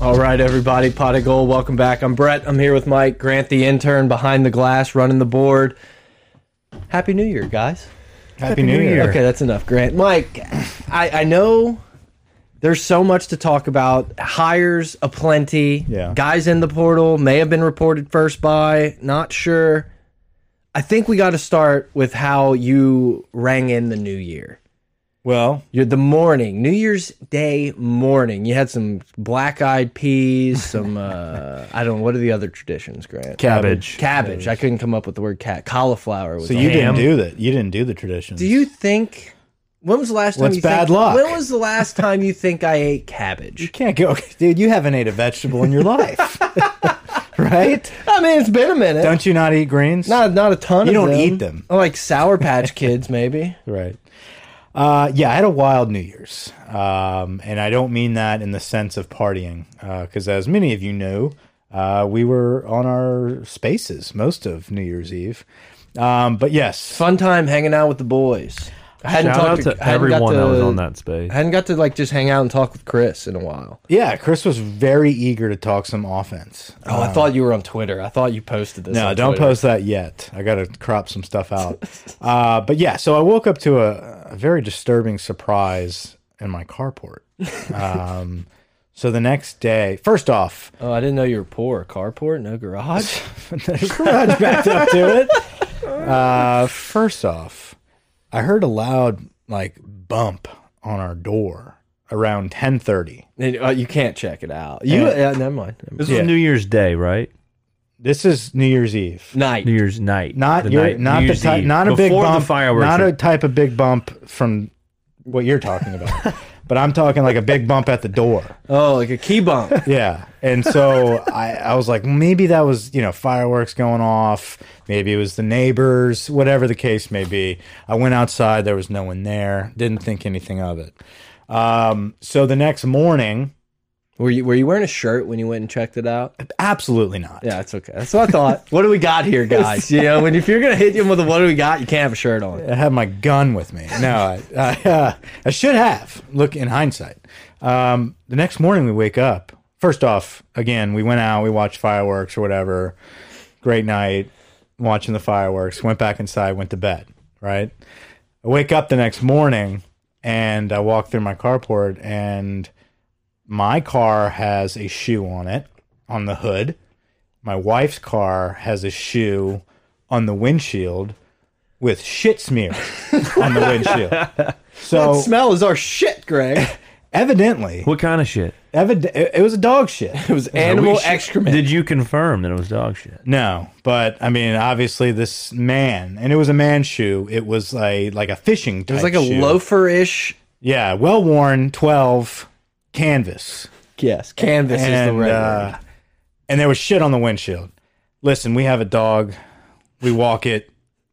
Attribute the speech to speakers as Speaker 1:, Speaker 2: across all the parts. Speaker 1: right, everybody, pot of gold. Welcome back. I'm Brett. I'm here with Mike Grant, the intern behind the glass, running the board. Happy New Year, guys.
Speaker 2: Happy New Year.
Speaker 1: Okay, that's enough, Grant. Mike, I, I know there's so much to talk about. Hires aplenty.
Speaker 2: Yeah.
Speaker 1: Guys in the portal may have been reported first by, not sure. I think we got to start with how you rang in the new year.
Speaker 2: Well,
Speaker 1: You're the morning, New Year's Day morning. You had some black eyed peas, some, uh, I don't know, what are the other traditions, Grant?
Speaker 3: Cabbage.
Speaker 1: Cabbage. I couldn't come up with the word cat. Cauliflower was
Speaker 2: so you
Speaker 1: on.
Speaker 2: didn't do that. You didn't do the traditions.
Speaker 1: Do you think? When was the last time?
Speaker 2: What's
Speaker 1: you
Speaker 2: bad
Speaker 1: think,
Speaker 2: luck?
Speaker 1: When was the last time you think I ate
Speaker 2: You
Speaker 1: cabbage?
Speaker 2: can't go, dude. You haven't ate a vegetable in your life, right?
Speaker 1: I mean, it's been a minute.
Speaker 2: Don't you not eat greens?
Speaker 1: not not a ton.
Speaker 2: You
Speaker 1: of
Speaker 2: don't
Speaker 1: them.
Speaker 2: eat them.
Speaker 1: I like Sour Patch Kids, maybe.
Speaker 2: Right. Uh, yeah, I had a wild New Year's, um, and I don't mean that in the sense of partying, because as many of you know, uh, we were on our spaces most of New Year's Eve. Um, but yes,
Speaker 1: Fun time hanging out with the boys. I hadn't
Speaker 3: Shout out to,
Speaker 1: I hadn't got
Speaker 3: everyone that was
Speaker 1: to-
Speaker 3: on that space.
Speaker 1: I hadn't got to like just hang out and talk with Chris in a while.
Speaker 2: yeah, Chris was very eager to talk some offense.
Speaker 1: Oh, I thought you were on Twitter. I thought you posted this.
Speaker 2: No,
Speaker 1: on
Speaker 2: don't
Speaker 1: Twitter.
Speaker 2: post that yet. I got to crop some stuff out. uh, but yeah, so I woke up to a, a very disturbing surprise in my carport. Um, so the next day, first off,
Speaker 1: Oh, I didn't know you were poor. Carport, no garage.
Speaker 2: garage backed up to it. Uh, first off, I heard a loud like bump on our door around ten thirty.
Speaker 1: And, uh, you can't check it out. You
Speaker 2: And-
Speaker 1: yeah, never mind. Never mind.
Speaker 3: This was New Year's Day, right?
Speaker 2: This is New Year's Eve.
Speaker 1: Night.
Speaker 3: New Year's night.
Speaker 2: Not
Speaker 3: the
Speaker 2: your,
Speaker 3: night-
Speaker 2: not
Speaker 3: New
Speaker 2: the
Speaker 3: Year's
Speaker 2: type,
Speaker 3: Eve.
Speaker 2: not a big
Speaker 3: Before
Speaker 2: bump,
Speaker 3: the fireworks.
Speaker 2: not a type of big bump from what you're talking about. but I'm talking like a big bump at the door.
Speaker 1: Oh, like a key bump.
Speaker 2: Yeah. And so I, I was like, maybe that was, you know, fireworks going off. Maybe it was the neighbors, whatever the case may be. I went outside. There was no one there. Didn't think anything of it. Um, so the next morning,
Speaker 1: Were you were you wearing a shirt when you went and checked it out?
Speaker 2: absolutely not.
Speaker 1: Yeah, it's okay. That's what I thought. what do we got here, guys? You know, when if you're gonna hit them with a what do we got, you can't have a shirt on.
Speaker 2: I had my gun with me. No, I, I, uh, I should have. Look, in hindsight, um, the next morning we wake up. First off, again, we went out, we watched fireworks or whatever. Great night, watching the fireworks. Went back inside, went to bed. Right. I wake up the next morning and I walk through my carport, and my car has a shoe on it on the hood. My wife's car has a shoe on the windshield with shit smear on the windshield. So
Speaker 1: smell is our shit, Greg. It
Speaker 2: evidently,
Speaker 3: What kind of shit?
Speaker 2: evid it it was a dog shit.
Speaker 1: was animal
Speaker 3: We sh-
Speaker 1: excrement.
Speaker 3: Did you confirm that it was dog shit?
Speaker 2: No, but I mean, obviously, this man, and it was a man's shoe. It was a like a fishing.
Speaker 1: It was like a loafer-ish.
Speaker 2: Yeah, well worn, twelve canvas.
Speaker 1: Yes, canvas is the
Speaker 2: and
Speaker 1: right
Speaker 2: uh, and there was shit on the windshield. Listen, we have a dog. We walk it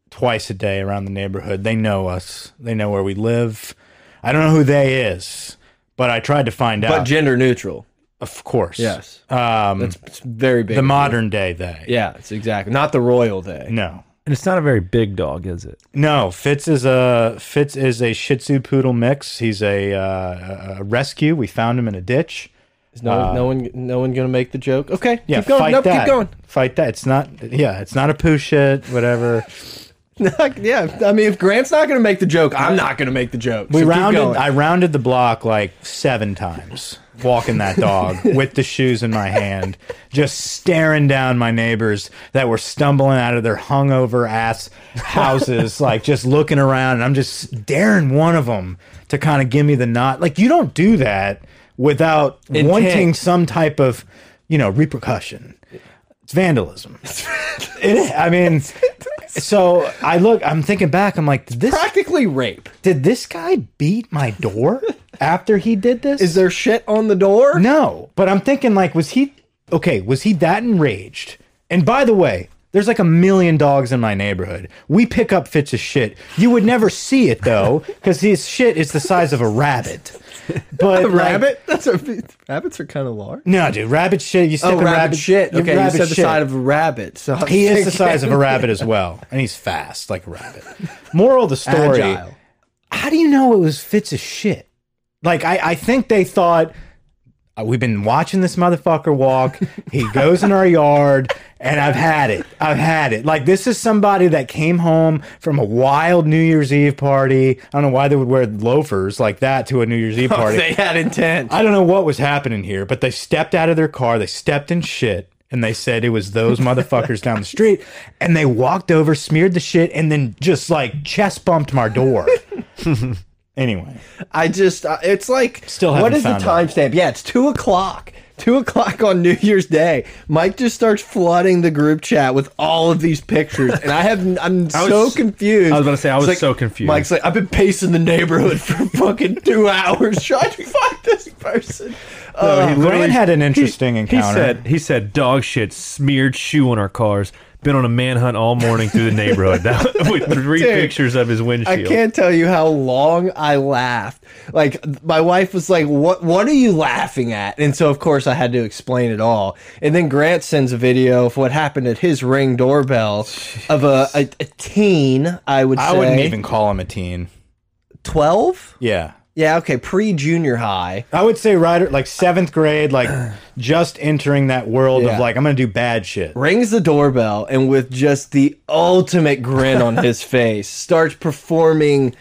Speaker 2: twice a day around the neighborhood. They know us. They know where we live. I don't know who they is, but I tried to find
Speaker 1: word. But
Speaker 2: out.
Speaker 1: gender neutral.
Speaker 2: of course,
Speaker 1: Yes,
Speaker 2: Um,
Speaker 1: it's, it's very big.
Speaker 2: the modern day they.
Speaker 1: yeah, it's exactly not the royal day.
Speaker 2: No.
Speaker 3: And it's not a very big dog, is it?
Speaker 2: No, Fitz is a Fitz is a Shih Tzu poodle mix. He's a, uh, a- a rescue. We found him in a ditch.
Speaker 1: Is no, no one, no one gonna make the joke. Okay,
Speaker 2: Yeah,
Speaker 1: keep going.
Speaker 2: fight
Speaker 1: Nope,
Speaker 2: that.
Speaker 1: keep going.
Speaker 2: Fight that. It's not. Yeah, it's not a poo shit. Whatever.
Speaker 1: yeah, I mean, if Grant's not gonna make the joke, I'm not gonna make the joke. So
Speaker 2: We
Speaker 1: keep
Speaker 2: rounded.
Speaker 1: going.
Speaker 2: I rounded the block like seven times, walking that dog with the shoes in my hand, just staring down my neighbors that were stumbling out of their hungover ass houses, like just looking around. And I'm just daring one of them to kind of give me the nod. Like you don't do that without
Speaker 1: Intent.
Speaker 2: wanting some type of, you know, repercussion. It's vandalism. It- I mean, so I look. I'm thinking back. I'm like, did this
Speaker 1: practically rape.
Speaker 2: did this guy beat my door after he did this?
Speaker 1: Is there shit on the door?
Speaker 2: no, but I'm thinking like, was he okay? Was he that enraged? And by the way, there's like a million dogs in my neighborhood. We pick up Fitz's shit. You would never see it though, because his shit is the size of a rabbit. But like-
Speaker 1: rabbit? That's a, rabbits are kind of large.
Speaker 2: no, dude, rabbit shit. You
Speaker 1: Oh,
Speaker 2: stick in
Speaker 1: rabbit,
Speaker 2: rabbit
Speaker 1: shit.
Speaker 2: you-
Speaker 1: Okay, you
Speaker 2: rabbit
Speaker 1: said the
Speaker 2: shit.
Speaker 1: side of a rabbit. So I was
Speaker 2: He is the
Speaker 1: thinking-
Speaker 2: size of a rabbit as well, and he's fast like a rabbit. Moral of the story.
Speaker 1: Agile.
Speaker 2: how do you know it was Fitz's shit? Like, I, I think they thought Uh, We've been watching this motherfucker walk. He goes in our yard, and I've had it. I've had it. Like this is somebody that came home from a wild New Year's Eve party. I don't know why they would wear loafers like that to a New Year's Eve party.
Speaker 1: They had intent.
Speaker 2: I don't know what was happening here, but they stepped out of their car, they stepped in shit, and they said it was those motherfuckers down the street. And they walked over, smeared the shit, and then just like chest bumped my door. anyway,
Speaker 1: I just, uh, it's like,
Speaker 2: Still
Speaker 1: what
Speaker 2: haven't
Speaker 1: is the
Speaker 2: found out.
Speaker 1: timestamp? Yeah, it's two o'clock. Two o'clock on New Year's Day. Mike just starts flooding the group chat with all of these pictures, and I have, I'm so confused.
Speaker 3: I was gonna say, I
Speaker 1: It's
Speaker 3: was
Speaker 1: like-
Speaker 3: so confused.
Speaker 1: Mike's like, I've been pacing the neighborhood for fucking two hours trying to find this person. Uh,
Speaker 2: Ryan had an interesting encounter.
Speaker 3: He said, "He said dog shit smeared shoe on our cars. Been on a manhunt all morning through the neighborhood That- with three
Speaker 1: Dude,
Speaker 3: pictures of his
Speaker 1: I
Speaker 3: windshield."
Speaker 1: can't tell you how long I laughed. Like my wife was like, "What? What are you laughing at?" And so, of course, I had to explain it all. And then Grant sends a video of what happened at his ring doorbell of a, a, a teen. I would.
Speaker 2: I
Speaker 1: say,
Speaker 2: wouldn't even call him a teen.
Speaker 1: twelve.
Speaker 2: Yeah.
Speaker 1: Yeah, okay, pre junior high.
Speaker 2: I would say right like seventh grade, like just entering that world
Speaker 1: Yeah.
Speaker 2: of like I'm gonna do bad shit.
Speaker 1: Rings the doorbell and with just the ultimate grin on his face, starts performing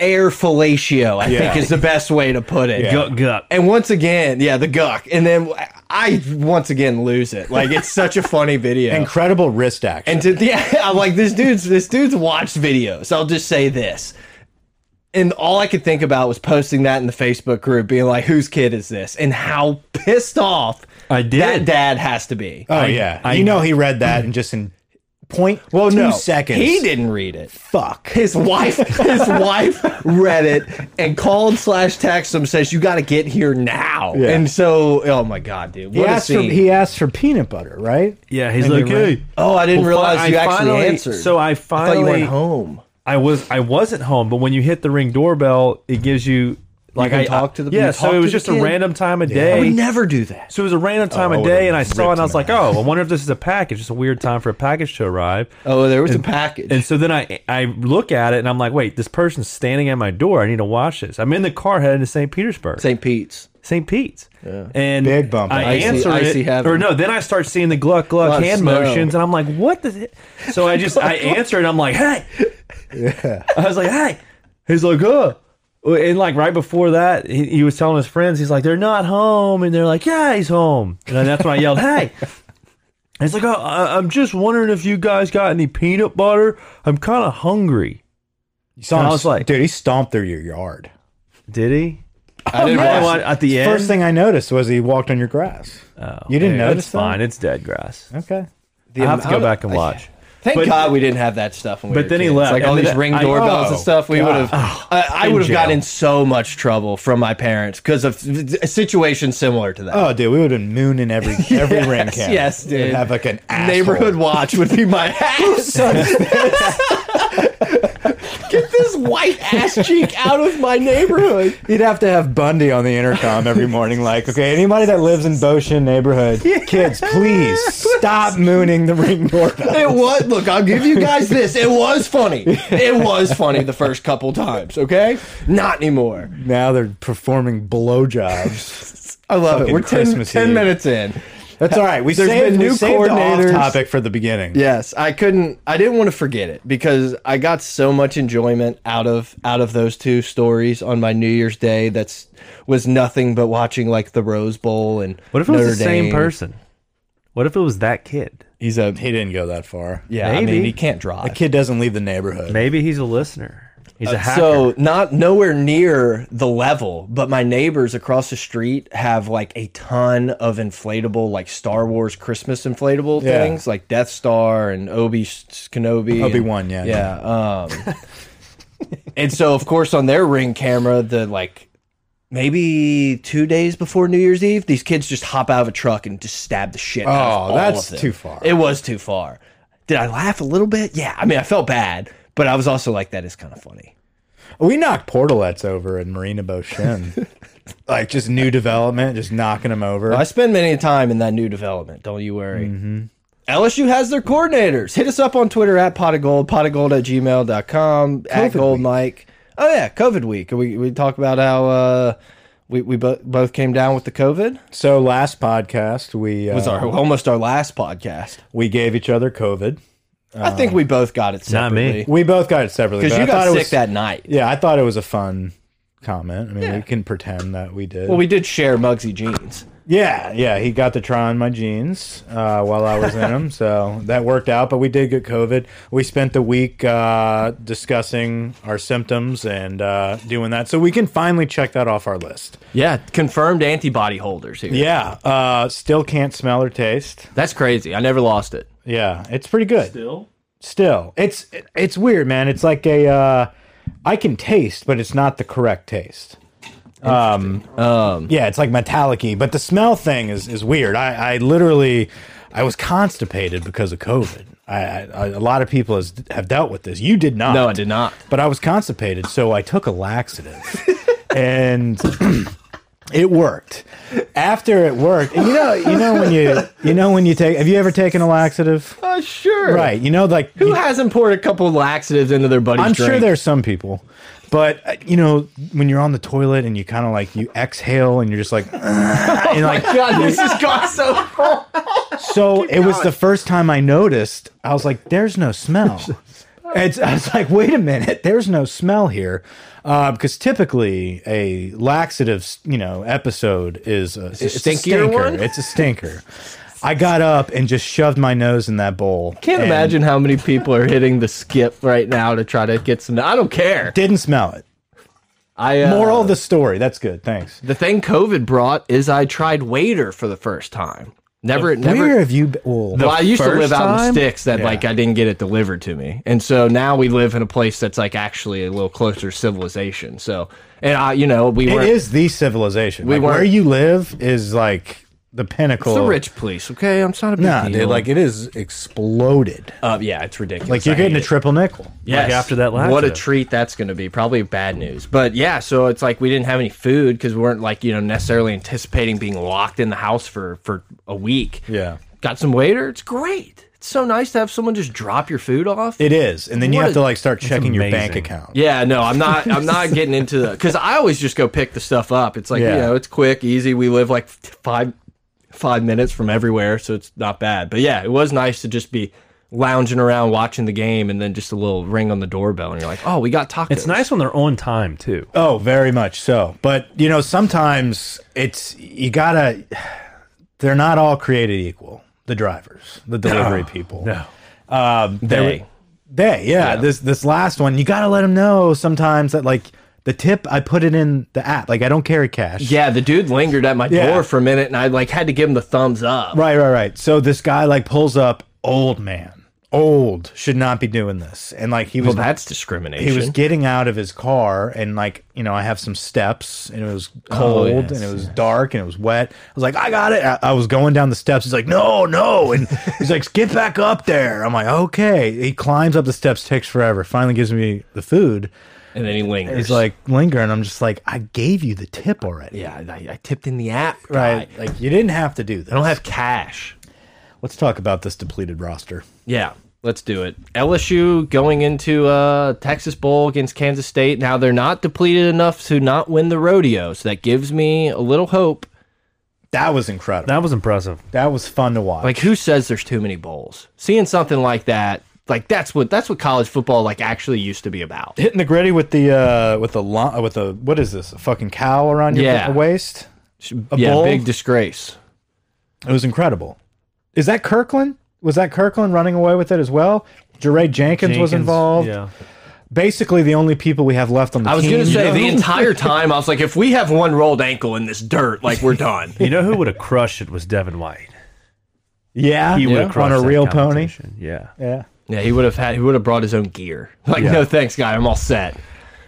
Speaker 1: air fellatio. I
Speaker 2: Yeah.
Speaker 1: think is the best way to put it.
Speaker 2: Yeah.
Speaker 3: Guck, guck.
Speaker 1: And once again, yeah, the guck. And then I once again lose it. Like it's such a funny video. And,
Speaker 2: Incredible wrist action.
Speaker 1: to yeah, I'm like this dude's this dude's watched videos. I'll just say this. And all I could think about was posting that in the Facebook group, being like, "Whose kid is this?" and how pissed off
Speaker 3: I did.
Speaker 1: that dad has to be.
Speaker 2: oh yeah.
Speaker 3: I-
Speaker 2: you know he read that and just in point well
Speaker 1: No,
Speaker 2: seconds.
Speaker 1: He didn't read it.
Speaker 2: fuck.
Speaker 1: His wife, his wife read it and called slash text him says, "You got to get here now."
Speaker 2: Yeah.
Speaker 1: And so, oh my god, dude,
Speaker 2: He
Speaker 1: what a
Speaker 2: asked, for,
Speaker 1: scene.
Speaker 2: he asked for peanut butter, right?
Speaker 3: Yeah, he's like,
Speaker 2: you're
Speaker 3: "Hey."
Speaker 1: Oh, I didn't realize
Speaker 3: I
Speaker 1: you actually
Speaker 3: finally-
Speaker 1: answered.
Speaker 3: So I
Speaker 1: I
Speaker 3: finally
Speaker 1: thought you went home.
Speaker 3: I was I wasn't home, but when you hit the ring doorbell, it gives you like
Speaker 1: can
Speaker 3: I
Speaker 1: talk to the- you
Speaker 3: yeah.
Speaker 1: talk
Speaker 3: So it
Speaker 1: to
Speaker 3: was
Speaker 1: the
Speaker 3: just
Speaker 1: kid.
Speaker 3: a random time of
Speaker 1: I
Speaker 3: day.
Speaker 1: would never do that.
Speaker 3: so it was a random time
Speaker 2: Oh, I
Speaker 3: of
Speaker 2: would've
Speaker 3: day, and I saw it,
Speaker 2: ripped
Speaker 3: and I was
Speaker 2: him
Speaker 3: like, "Oh, I wonder if this is a package. It's a weird time for a package to arrive."
Speaker 1: Oh, there was a package.
Speaker 3: And so then I I look at it, and I'm like, "Wait, this person's standing at my door. I need to watch this." I'm in the car heading to St. Petersburg.
Speaker 1: St. Pete's.
Speaker 3: St. Pete's. And
Speaker 2: Big bump.
Speaker 3: I
Speaker 1: Icy-
Speaker 3: answer
Speaker 1: icy
Speaker 3: it,
Speaker 1: heaven.
Speaker 3: or no. Then I start seeing the gluck
Speaker 1: Lot
Speaker 3: gluck
Speaker 1: of
Speaker 3: hand
Speaker 1: snow.
Speaker 3: motions, and I'm like, "What the?" he-" So I just I answer, and I'm like, "Hey!" I was like, "Hey!" He's like, "Huh." And like right before that, he, he was telling his friends, he's like, "They're not home," and they're like, "Yeah, he's home." And then that's when I yelled, "Hey!" And It's like, oh, I, I'm just wondering if you guys got any peanut butter. I'm kind of hungry.
Speaker 2: You saw
Speaker 3: And
Speaker 2: him
Speaker 3: I was like-
Speaker 2: dude, he stomped through your yard.
Speaker 3: Did he?
Speaker 1: I didn't
Speaker 3: Yeah,
Speaker 1: watch.
Speaker 3: well, at the end.
Speaker 2: First thing I noticed was he walked on your grass.
Speaker 3: Oh,
Speaker 2: You didn't
Speaker 3: yeah,
Speaker 2: notice
Speaker 3: It's
Speaker 2: that?
Speaker 3: fine. It's dead grass.
Speaker 2: Okay.
Speaker 1: The
Speaker 3: I have to go
Speaker 1: amount-
Speaker 3: back and watch.
Speaker 1: Thank
Speaker 3: but-
Speaker 1: God we didn't have that stuff. When we
Speaker 3: but
Speaker 1: were
Speaker 3: then he
Speaker 1: kids.
Speaker 3: left.
Speaker 1: Like all
Speaker 3: And
Speaker 1: these
Speaker 3: then
Speaker 1: ring
Speaker 3: I- Oh,
Speaker 1: doorbells
Speaker 2: oh,
Speaker 1: and stuff. We
Speaker 2: God.
Speaker 1: would have. I, I
Speaker 3: in
Speaker 1: would have
Speaker 3: jail.
Speaker 1: gotten in so much trouble from my parents because of a situation similar to that.
Speaker 2: Oh, dude, we would have been mooning every every ring can.
Speaker 1: yes, dude.
Speaker 2: We'd have like an asshole.
Speaker 1: Neighborhood watch would be my ass. Get this white ass cheek out of my neighborhood.
Speaker 2: You'd have to have Bundy on the intercom every morning, like, okay, anybody that lives in Boshin neighborhood, kids, please stop mooning the ring doorbell.
Speaker 1: It was. Look, I'll give you guys this. It was funny. It was funny the first couple times. Okay, not anymore.
Speaker 2: Now they're performing blowjobs.
Speaker 1: I love it.
Speaker 2: Fucking
Speaker 1: We're 10,
Speaker 2: Christmas
Speaker 1: 10
Speaker 2: Eve.
Speaker 1: minutes in.
Speaker 2: That's all right. We
Speaker 1: There's
Speaker 2: saved,
Speaker 1: been
Speaker 2: we
Speaker 1: new
Speaker 2: saved the off
Speaker 1: coordinators.
Speaker 2: topic for the beginning.
Speaker 1: Yes, I couldn't. I didn't want to forget it because I got so much enjoyment out of out of those two stories on my New Year's Day. That's was nothing but watching like the Rose Bowl and
Speaker 3: What if it was
Speaker 1: Notre
Speaker 3: the same
Speaker 1: Dame.
Speaker 3: person? What if it was that kid?
Speaker 1: He's a
Speaker 2: He didn't go that far.
Speaker 1: yeah. I
Speaker 3: Maybe.
Speaker 1: mean, he can't drive.
Speaker 2: The kid doesn't leave the neighborhood.
Speaker 3: Maybe he's a listener.
Speaker 1: Uh,
Speaker 3: He's a hacker.
Speaker 1: So not nowhere near the level, but my neighbors across the street have like a ton of inflatable, like Star Wars Christmas inflatable
Speaker 2: Yeah.
Speaker 1: things, like Death Star and Obi Kenobi.
Speaker 2: Obi
Speaker 1: and-
Speaker 2: Wan, yeah,
Speaker 1: yeah. Um, and so, of course, on their ring camera, the like maybe two days before New Year's Eve, these kids just hop out of a truck and just stab the shit. out of
Speaker 2: Oh,
Speaker 1: all of
Speaker 2: that's
Speaker 1: them.
Speaker 2: too far.
Speaker 1: It was too far. Did I laugh a little bit? Yeah. I mean, I felt bad, but I was also like, that is kind of funny.
Speaker 2: We knocked portalettes over in Marina Boshin. like just new development, just knocking them over.
Speaker 1: I spend many a time in that new development. Don't you worry. LSU has their coordinators. Hit us up on Twitter at pot of gold, pot of gold at gmail.com, at
Speaker 2: COVID
Speaker 1: gold
Speaker 2: week.
Speaker 1: mike. Oh, yeah, COVID week. We, we talk about how uh, we we bo- both came down with the COVID.
Speaker 2: So last podcast we uh,
Speaker 1: It was our almost our last podcast.
Speaker 2: we gave each other COVID.
Speaker 1: I think we both got it
Speaker 3: Not me.
Speaker 1: separately.
Speaker 2: We both got it separately.
Speaker 1: Because
Speaker 2: but
Speaker 1: you
Speaker 2: I
Speaker 1: got
Speaker 2: thought it
Speaker 1: sick
Speaker 2: was,
Speaker 1: that night.
Speaker 2: Yeah, I thought it was a fun comment. I mean, we can pretend that we did.
Speaker 1: Well, we did share Muggsy jeans.
Speaker 2: yeah, yeah. He got to try on my jeans uh, while I was in them, so that worked out. But we did get COVID. We spent the week uh, discussing our symptoms and uh, doing that, so we can finally check that off our list.
Speaker 1: Yeah, confirmed antibody holders here.
Speaker 2: Yeah. Uh, still can't smell or taste.
Speaker 1: That's crazy. I never lost it.
Speaker 2: Yeah, it's pretty good.
Speaker 3: Still?
Speaker 2: still it's it's weird man it's like a uh i can taste but it's not the correct taste um, yeah it's like metallic-y but the smell thing is is weird i i literally i was constipated because of covid I, I I- a lot of people has, have dealt with this you did not
Speaker 1: No, I did not.
Speaker 2: but i was constipated so i took a laxative and it worked after it worked and you know you know when you you know when you take have you ever taken a laxative
Speaker 1: Uh, sure.
Speaker 2: right you know like
Speaker 1: Who hasn't poured a couple of laxatives into their buddy's
Speaker 2: I'm
Speaker 1: drink?
Speaker 2: sure there's some people, but uh, you know, when you're on the toilet and you kind of like you exhale and you're just like, "Uh." and like,
Speaker 1: God, this has gone so far.
Speaker 2: so it was the first time I noticed. I was like, "There's no smell." It's, I was like, "Wait a minute, there's no smell here," uh, because typically a laxative, you know, episode is a, it's a
Speaker 1: stinkier
Speaker 2: stinker.
Speaker 1: one?
Speaker 2: It's a stinker. I got up and just shoved my nose in that bowl.
Speaker 1: Can't
Speaker 2: and
Speaker 1: imagine how many people are hitting the skip right now to try to get some. I don't care.
Speaker 2: Didn't smell it.
Speaker 1: I uh,
Speaker 2: Moral of the story. That's good. Thanks.
Speaker 1: the thing COVID brought is I tried waiter for the first time. Never, never.
Speaker 2: Where have you been? Well,
Speaker 1: Well, I used to
Speaker 3: first
Speaker 1: live out in the
Speaker 3: time?
Speaker 1: sticks that like I didn't get it delivered to me, and so now we live in a place that's like actually a little closer to civilization. So, and I, you know, we were
Speaker 2: It
Speaker 1: it's
Speaker 2: is the civilization.
Speaker 1: We
Speaker 2: Like,
Speaker 1: weren't-
Speaker 2: where you live is like the pinnacle.
Speaker 1: the
Speaker 2: of-
Speaker 1: rich police. Okay, I'm it's not a big
Speaker 2: Nah,
Speaker 1: deal.
Speaker 2: dude, like it is exploded.
Speaker 1: uh, yeah, it's ridiculous.
Speaker 2: Like you're
Speaker 1: I
Speaker 2: getting
Speaker 1: hate
Speaker 2: a
Speaker 1: it.
Speaker 2: triple nickel.
Speaker 1: Yes.
Speaker 3: Like, after that
Speaker 1: What a
Speaker 3: laxative.
Speaker 1: treat that's going to be. Probably bad news. But yeah, so it's like we didn't have any food because we weren't like, you know, necessarily anticipating being locked in the house for for a week.
Speaker 2: Yeah.
Speaker 1: Got some waiter. It's great. It's so nice to have someone just drop your food off.
Speaker 2: It is, and then you
Speaker 1: What
Speaker 2: have
Speaker 1: a-
Speaker 2: to like start checking your
Speaker 3: amazing.
Speaker 2: bank account.
Speaker 1: yeah, no, I'm not. I'm not getting into the because I always just go pick the stuff up. It's like
Speaker 2: Yeah.
Speaker 1: you know, it's quick, easy. We live like five five minutes from everywhere, so it's not bad. But yeah, it was nice to just be lounging around watching the game, and then just a little ring on the doorbell, and you're like, oh, we got tacos.
Speaker 3: It's nice when they're on time, too.
Speaker 2: Oh, very much so. But you know, sometimes it's you gotta. They're not all created equal. The drivers, the delivery people.
Speaker 3: No.
Speaker 2: Um,
Speaker 1: They.
Speaker 2: They, yeah, This this last one, you gotta let them know sometimes that like the tip I put it in the app. Like I don't carry cash.
Speaker 1: Yeah, the dude lingered at my
Speaker 2: Yeah.
Speaker 1: door for a minute, and I like had to give him the thumbs up.
Speaker 2: Right, right, right. So this guy like pulls up, old man, old should not be doing this, and like he was
Speaker 1: Well, that's discrimination.
Speaker 2: he was getting out of his car, and like you know I have some steps, and it was cold,
Speaker 1: Oh, yes,
Speaker 2: and it was dark, and it was wet. I was like, I got it. I, I was going down the steps. He's like, no, no, and he's like, get back up there. I'm like, okay. He climbs up the steps, takes forever. Finally gives me the food.
Speaker 1: and then he lingers.
Speaker 2: He's like lingering. I'm just like, I gave you the tip already.
Speaker 1: "Yeah, I, I tipped in the app, guy.
Speaker 2: Right, like you didn't have to do
Speaker 1: I
Speaker 2: that.
Speaker 1: don't have cash."
Speaker 2: Let's talk about this depleted roster.
Speaker 1: Yeah, let's do it. LSU going into uh, Texas Bowl against Kansas State. Now they're not depleted enough to not win the rodeo, so that gives me a little hope.
Speaker 2: That was incredible.
Speaker 3: That was impressive.
Speaker 2: That was fun to watch.
Speaker 1: Like, who says there's too many bowls? Seeing something like that, like that's what that's what college football like actually used to be about.
Speaker 2: hitting the gritty with the uh with the lo- with the what is this? A fucking cow around your
Speaker 1: Yeah.
Speaker 2: waist? A
Speaker 1: yeah,
Speaker 2: bowl?
Speaker 1: big disgrace.
Speaker 2: It was incredible. Is that Kirkland? Was that Kirkland running away with it as well? Jeray Jenkins, was involved.
Speaker 3: Yeah.
Speaker 2: Basically, the only people we have left on the
Speaker 1: I was
Speaker 2: team.
Speaker 1: gonna say the
Speaker 2: You know?
Speaker 1: entire time I was like, if we have one rolled ankle in this dirt, like we're done.
Speaker 3: You know who would have crushed it was Devin White.
Speaker 2: yeah,
Speaker 3: He would
Speaker 2: yeah.
Speaker 3: have crushed
Speaker 2: on a
Speaker 3: that
Speaker 2: real pony.
Speaker 3: competition. Yeah.
Speaker 2: Yeah.
Speaker 1: yeah, he would have had he would have brought his own gear. Like, no thanks, guy, I'm all set.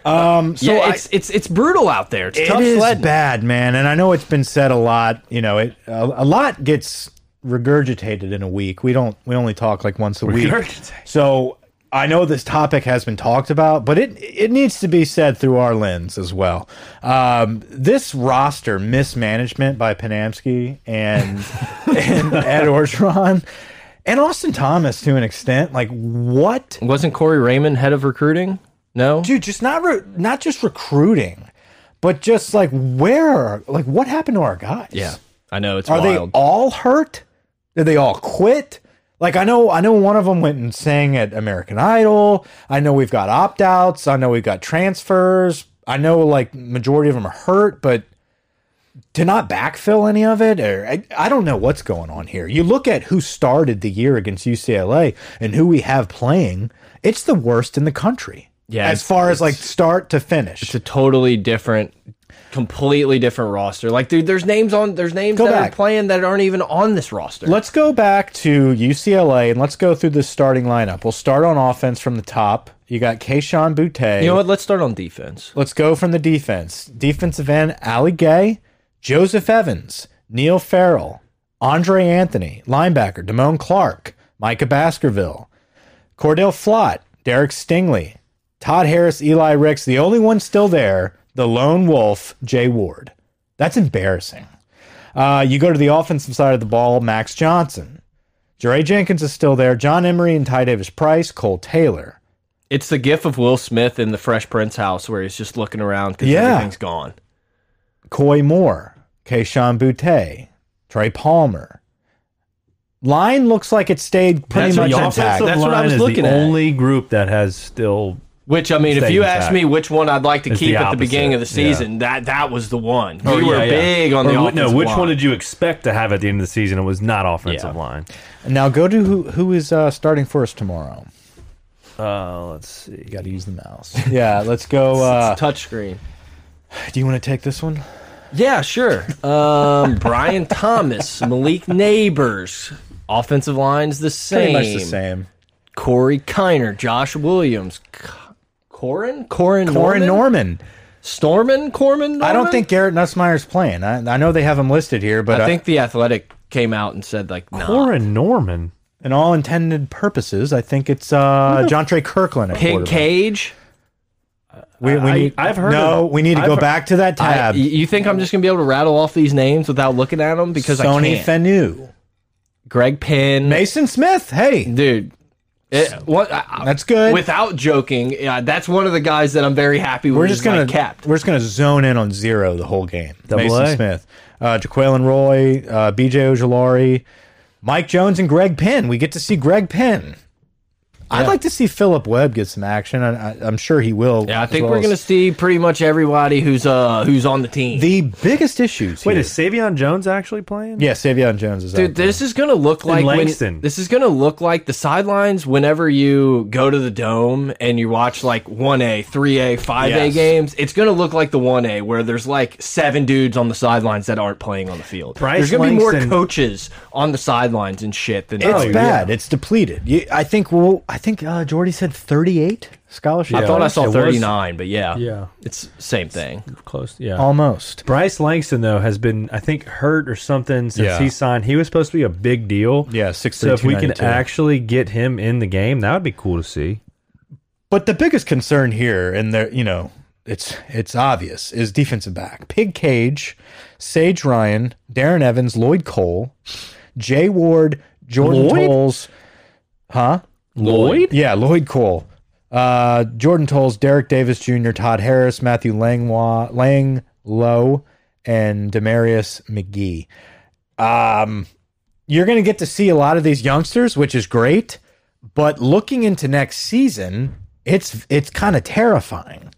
Speaker 2: Um. So
Speaker 1: yeah,
Speaker 2: I-
Speaker 1: it's it's it's brutal out there. It's tough
Speaker 2: it is
Speaker 1: sledding.
Speaker 2: bad, man. And I know it's been said a lot. You know, it a, a lot gets regurgitated in a week. We don't. We only talk like once a week.
Speaker 3: Regurgitate.
Speaker 2: So I know this topic has been talked about, but it it needs to be said through our lens as well. Um, this roster mismanagement by Panamsky and and Ed Orgeron and Austin Thomas to an extent. Like what?
Speaker 1: Wasn't Corey Raymond head of recruiting? No.
Speaker 2: dude, just not re not just recruiting, But just like where, like what happened to our guys?
Speaker 3: Yeah, I know it's
Speaker 2: Are they
Speaker 3: wild.
Speaker 2: all hurt? Did they all quit? Like I know, I know one of them went and sang at American Idol. I know we've got opt outs. I know we've got transfers. I know like majority of them are hurt, but to not backfill any of it, or I, I don't know what's going on here. You look at who started the year against UCLA and who we have playing. It's the worst in the country.
Speaker 3: Yeah,
Speaker 2: as
Speaker 3: it's-
Speaker 2: far as like start to finish.
Speaker 1: it's a totally different completely different roster like dude there's names on there's names
Speaker 2: Go
Speaker 1: that
Speaker 2: back.
Speaker 1: are playing that aren't even on this roster
Speaker 2: Let's go back to UCLA and let's go through the starting lineup. We'll start on offense from the top. You got Kayshawn Boutte.
Speaker 1: you know what let's start on defense
Speaker 2: Let's go from the defense. Defensive end, Ali Gay, Joseph Evans, Neil Farrell, Andre Anthony, linebacker, Damone Clark, Micah Baskerville, Cordell Flott, Derek Stingley, Todd Harris, Eli Ricks, the only one still there, the lone wolf, Jay Ward. That's embarrassing. Uh, you go to the offensive side of the ball, Max Johnson. Jerry Jenkins is still there, John Emery and Ty Davis Price, Cole Taylor.
Speaker 1: it's the gif of will smith in the fresh prince house where he's just looking around because
Speaker 2: Yeah.
Speaker 1: everything's gone
Speaker 2: Coy Moore, Keishawn Boutte, Trey Palmer. Line looks like it stayed pretty
Speaker 3: That's what
Speaker 2: much
Speaker 3: the
Speaker 2: intact.
Speaker 3: offensive
Speaker 1: That's what I
Speaker 3: line
Speaker 1: was
Speaker 3: is
Speaker 1: looking
Speaker 3: the
Speaker 1: at.
Speaker 3: Only group that has still
Speaker 1: which i mean if
Speaker 3: Stay
Speaker 1: you
Speaker 3: intact.
Speaker 1: ask me which one i'd like to
Speaker 3: It's
Speaker 1: keep
Speaker 3: the
Speaker 1: at the beginning of the
Speaker 3: opposite, yeah.
Speaker 1: season that that was the one we
Speaker 3: Oh,
Speaker 1: were
Speaker 3: yeah, yeah.
Speaker 1: big on the
Speaker 3: Or wh-
Speaker 1: offensive
Speaker 3: No, which one
Speaker 1: line.
Speaker 3: did you expect to have at the end of the season? It was not offensive
Speaker 1: Yeah.
Speaker 3: line.
Speaker 2: now go to who who is uh, starting for us tomorrow.
Speaker 3: Uh, let's see.
Speaker 2: You got to use the mouse. yeah, let's go. Uh,
Speaker 1: It's touchscreen
Speaker 2: do you want to take this one?
Speaker 1: yeah sure um brian thomas malik neighbors offensive lines the
Speaker 2: Pretty
Speaker 1: same
Speaker 2: much the same.
Speaker 1: Corey Kiner, Josh Williams, C- Corin, Corin,
Speaker 2: Warren
Speaker 1: Norman,
Speaker 2: Norman.
Speaker 1: Stormin, Corman. Norman?
Speaker 2: I don't think Garrett Nussmeyer's playing. I, I know they have him listed here, but uh,
Speaker 1: I
Speaker 2: I
Speaker 1: think the Athletic came out and said like, nah.
Speaker 3: Corin Norman.
Speaker 2: in all intended purposes, I think it's
Speaker 3: Hmm.
Speaker 2: uh, John Trey Kirkland. at
Speaker 1: Pig
Speaker 2: quarterback.
Speaker 1: Cage.
Speaker 2: We, we
Speaker 3: I-
Speaker 2: need,
Speaker 3: I've heard
Speaker 2: No,
Speaker 3: of-
Speaker 2: we need to
Speaker 3: I've
Speaker 2: go
Speaker 3: heard- e,
Speaker 2: back to that
Speaker 1: I-
Speaker 2: tab.
Speaker 1: y- you think I'm just gonna be able to rattle off these names without looking at them because I
Speaker 2: Sony
Speaker 1: can't?
Speaker 2: Fanu.
Speaker 1: Greg Penn,
Speaker 2: Mason Smith. Hey,
Speaker 1: dude. It, what? I, I-
Speaker 2: that's good.
Speaker 1: without joking, yeah, that's one of the guys that I'm very happy with.
Speaker 2: we're just
Speaker 1: is, like,
Speaker 2: gonna
Speaker 1: capped.
Speaker 2: we're just gonna zone in on zero the whole game.
Speaker 3: Double
Speaker 2: Mason
Speaker 3: A.
Speaker 2: Smith, uh, Jaqueline Roy, uh, B.J. Ojolari, Mike Jones, and Greg Penn. We get to see Greg Penn. I'd like to see Philip Webb get some action. I, I, I'm sure he will.
Speaker 1: Yeah, I
Speaker 2: as
Speaker 1: think
Speaker 2: well
Speaker 1: we're
Speaker 2: as-
Speaker 1: gonna see pretty much everybody who's uh who's on the team.
Speaker 2: The biggest issues.
Speaker 3: Wait,
Speaker 2: here-
Speaker 3: is Savion Jones actually playing?
Speaker 2: yeah, Savion Jones is
Speaker 1: Dude,
Speaker 2: out there.
Speaker 1: this is gonna look like when-
Speaker 3: Langston.
Speaker 1: this is gonna look like the sidelines whenever you go to the dome and you watch like one A, three A, five A
Speaker 2: Yes.
Speaker 1: games. It's gonna look like the one A where there's like seven dudes on the sidelines that aren't playing on the field.
Speaker 3: Bryce
Speaker 1: there's gonna be
Speaker 3: Langston-
Speaker 1: more coaches on the sidelines and shit than
Speaker 2: It's
Speaker 1: there is.
Speaker 2: bad. It's depleted. You, I think. Well, I think uh, Jordy said 38 scholarship.
Speaker 1: I thought I
Speaker 3: It
Speaker 1: saw
Speaker 3: was-
Speaker 1: thirty nine, but yeah,
Speaker 3: Yeah.
Speaker 1: it's same thing.
Speaker 3: Close. Yeah.
Speaker 2: almost.
Speaker 3: Um, Bryce Langston though has been, I think, hurt or something since
Speaker 2: Yeah.
Speaker 3: he signed. He was supposed to be a big deal.
Speaker 2: Yeah,
Speaker 3: So
Speaker 2: 6'3",
Speaker 3: if we can
Speaker 2: 292.
Speaker 3: actually get him in the game, that would be cool to see.
Speaker 2: But the biggest concern here, and there, you know, it's it's obvious, is defensive back. Pig Cage, Sage Ryan, Darren Evans, Lloyd Cole, Jay Ward, Jordan
Speaker 3: Lloyd?
Speaker 2: Tolles, huh?
Speaker 3: Lloyd.
Speaker 2: Yeah, Lloyd Cole, uh, Jordan Tolles, Derek Davis Jr., Todd Harris, Matthew Langwa, Lang Lowe, and Demarius McGee. Um, you're going to get to see a lot of these youngsters, which is great. But looking into next season, it's it's kind of terrifying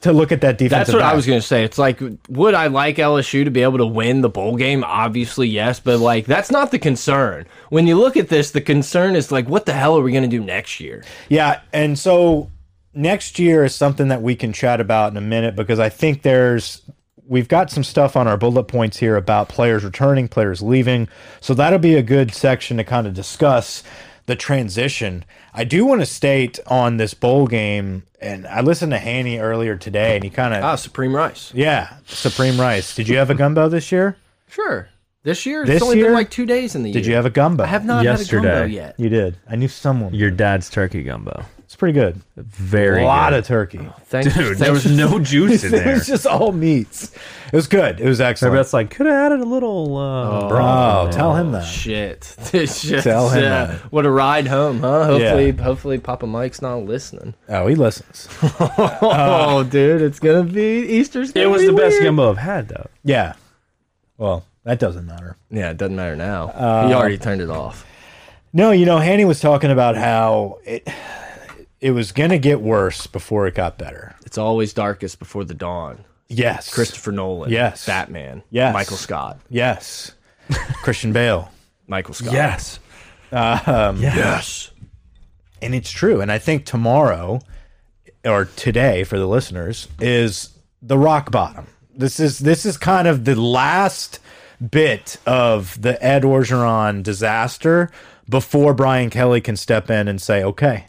Speaker 2: to look at that defense.
Speaker 1: That's what I was going to say. It's like, would I like LSU to be able to win the bowl game? Obviously, yes, but like, that's not the concern. When you look at this, the concern is like, what the hell are we going to do next year?
Speaker 2: Yeah, and so next year is something that we can chat about in a minute because I think there's we've got some stuff on our bullet points here about players returning, players leaving. So that'll be a good section to kind of discuss the transition. I do want to state on this bowl game, and I listened to Haney earlier today, and he kind of
Speaker 1: Ah, Supreme Rice.
Speaker 2: yeah, Supreme Rice. Did you have a gumbo this year?
Speaker 1: Sure. This year,
Speaker 2: This
Speaker 1: it's only
Speaker 2: year?
Speaker 1: been like two days in the
Speaker 2: Did
Speaker 1: year.
Speaker 2: you have a gumbo?
Speaker 1: I have not had a
Speaker 3: Yesterday.
Speaker 1: combo yet.
Speaker 2: You did. I knew someone.
Speaker 3: Your dad's turkey gumbo.
Speaker 2: It's pretty good.
Speaker 3: Very
Speaker 2: A lot
Speaker 3: good.
Speaker 2: of turkey.
Speaker 1: Thanks,
Speaker 3: dude. There was no juice in
Speaker 2: it
Speaker 3: there.
Speaker 2: was just all meats. It was good. It was
Speaker 3: Maybe
Speaker 2: excellent.
Speaker 3: that's like could have added a little. Uh,
Speaker 2: Oh,
Speaker 3: broth in there.
Speaker 2: tell him that.
Speaker 1: Shit. This shit's,
Speaker 2: Tell him
Speaker 1: uh,
Speaker 2: that.
Speaker 1: What a ride home, huh? Hopefully, hopefully Papa Mike's not listening.
Speaker 2: Oh, he listens.
Speaker 1: oh, dude, it's gonna be Easter's.
Speaker 3: It
Speaker 1: Gonna
Speaker 3: was
Speaker 1: be
Speaker 3: the best
Speaker 1: weird.
Speaker 3: gumbo I've had though.
Speaker 2: Yeah. Well, that doesn't matter.
Speaker 1: Yeah, it doesn't matter now.
Speaker 2: Uh,
Speaker 1: he already turned it off.
Speaker 2: No, you know, Hanny was talking about how it it was gonna get worse before it got better.
Speaker 1: It's always darkest before the dawn.
Speaker 2: Yes.
Speaker 1: Christopher Nolan.
Speaker 2: Yes.
Speaker 1: Batman.
Speaker 2: Yes.
Speaker 1: Michael Scott.
Speaker 2: Yes. Christian Bale.
Speaker 1: Michael Scott.
Speaker 3: Yes.
Speaker 1: Yes.
Speaker 2: And it's true. And I think tomorrow or today for the listeners is the rock bottom. This is this is kind of the last bit of the Ed Orgeron disaster before Brian Kelly can step in and say, okay,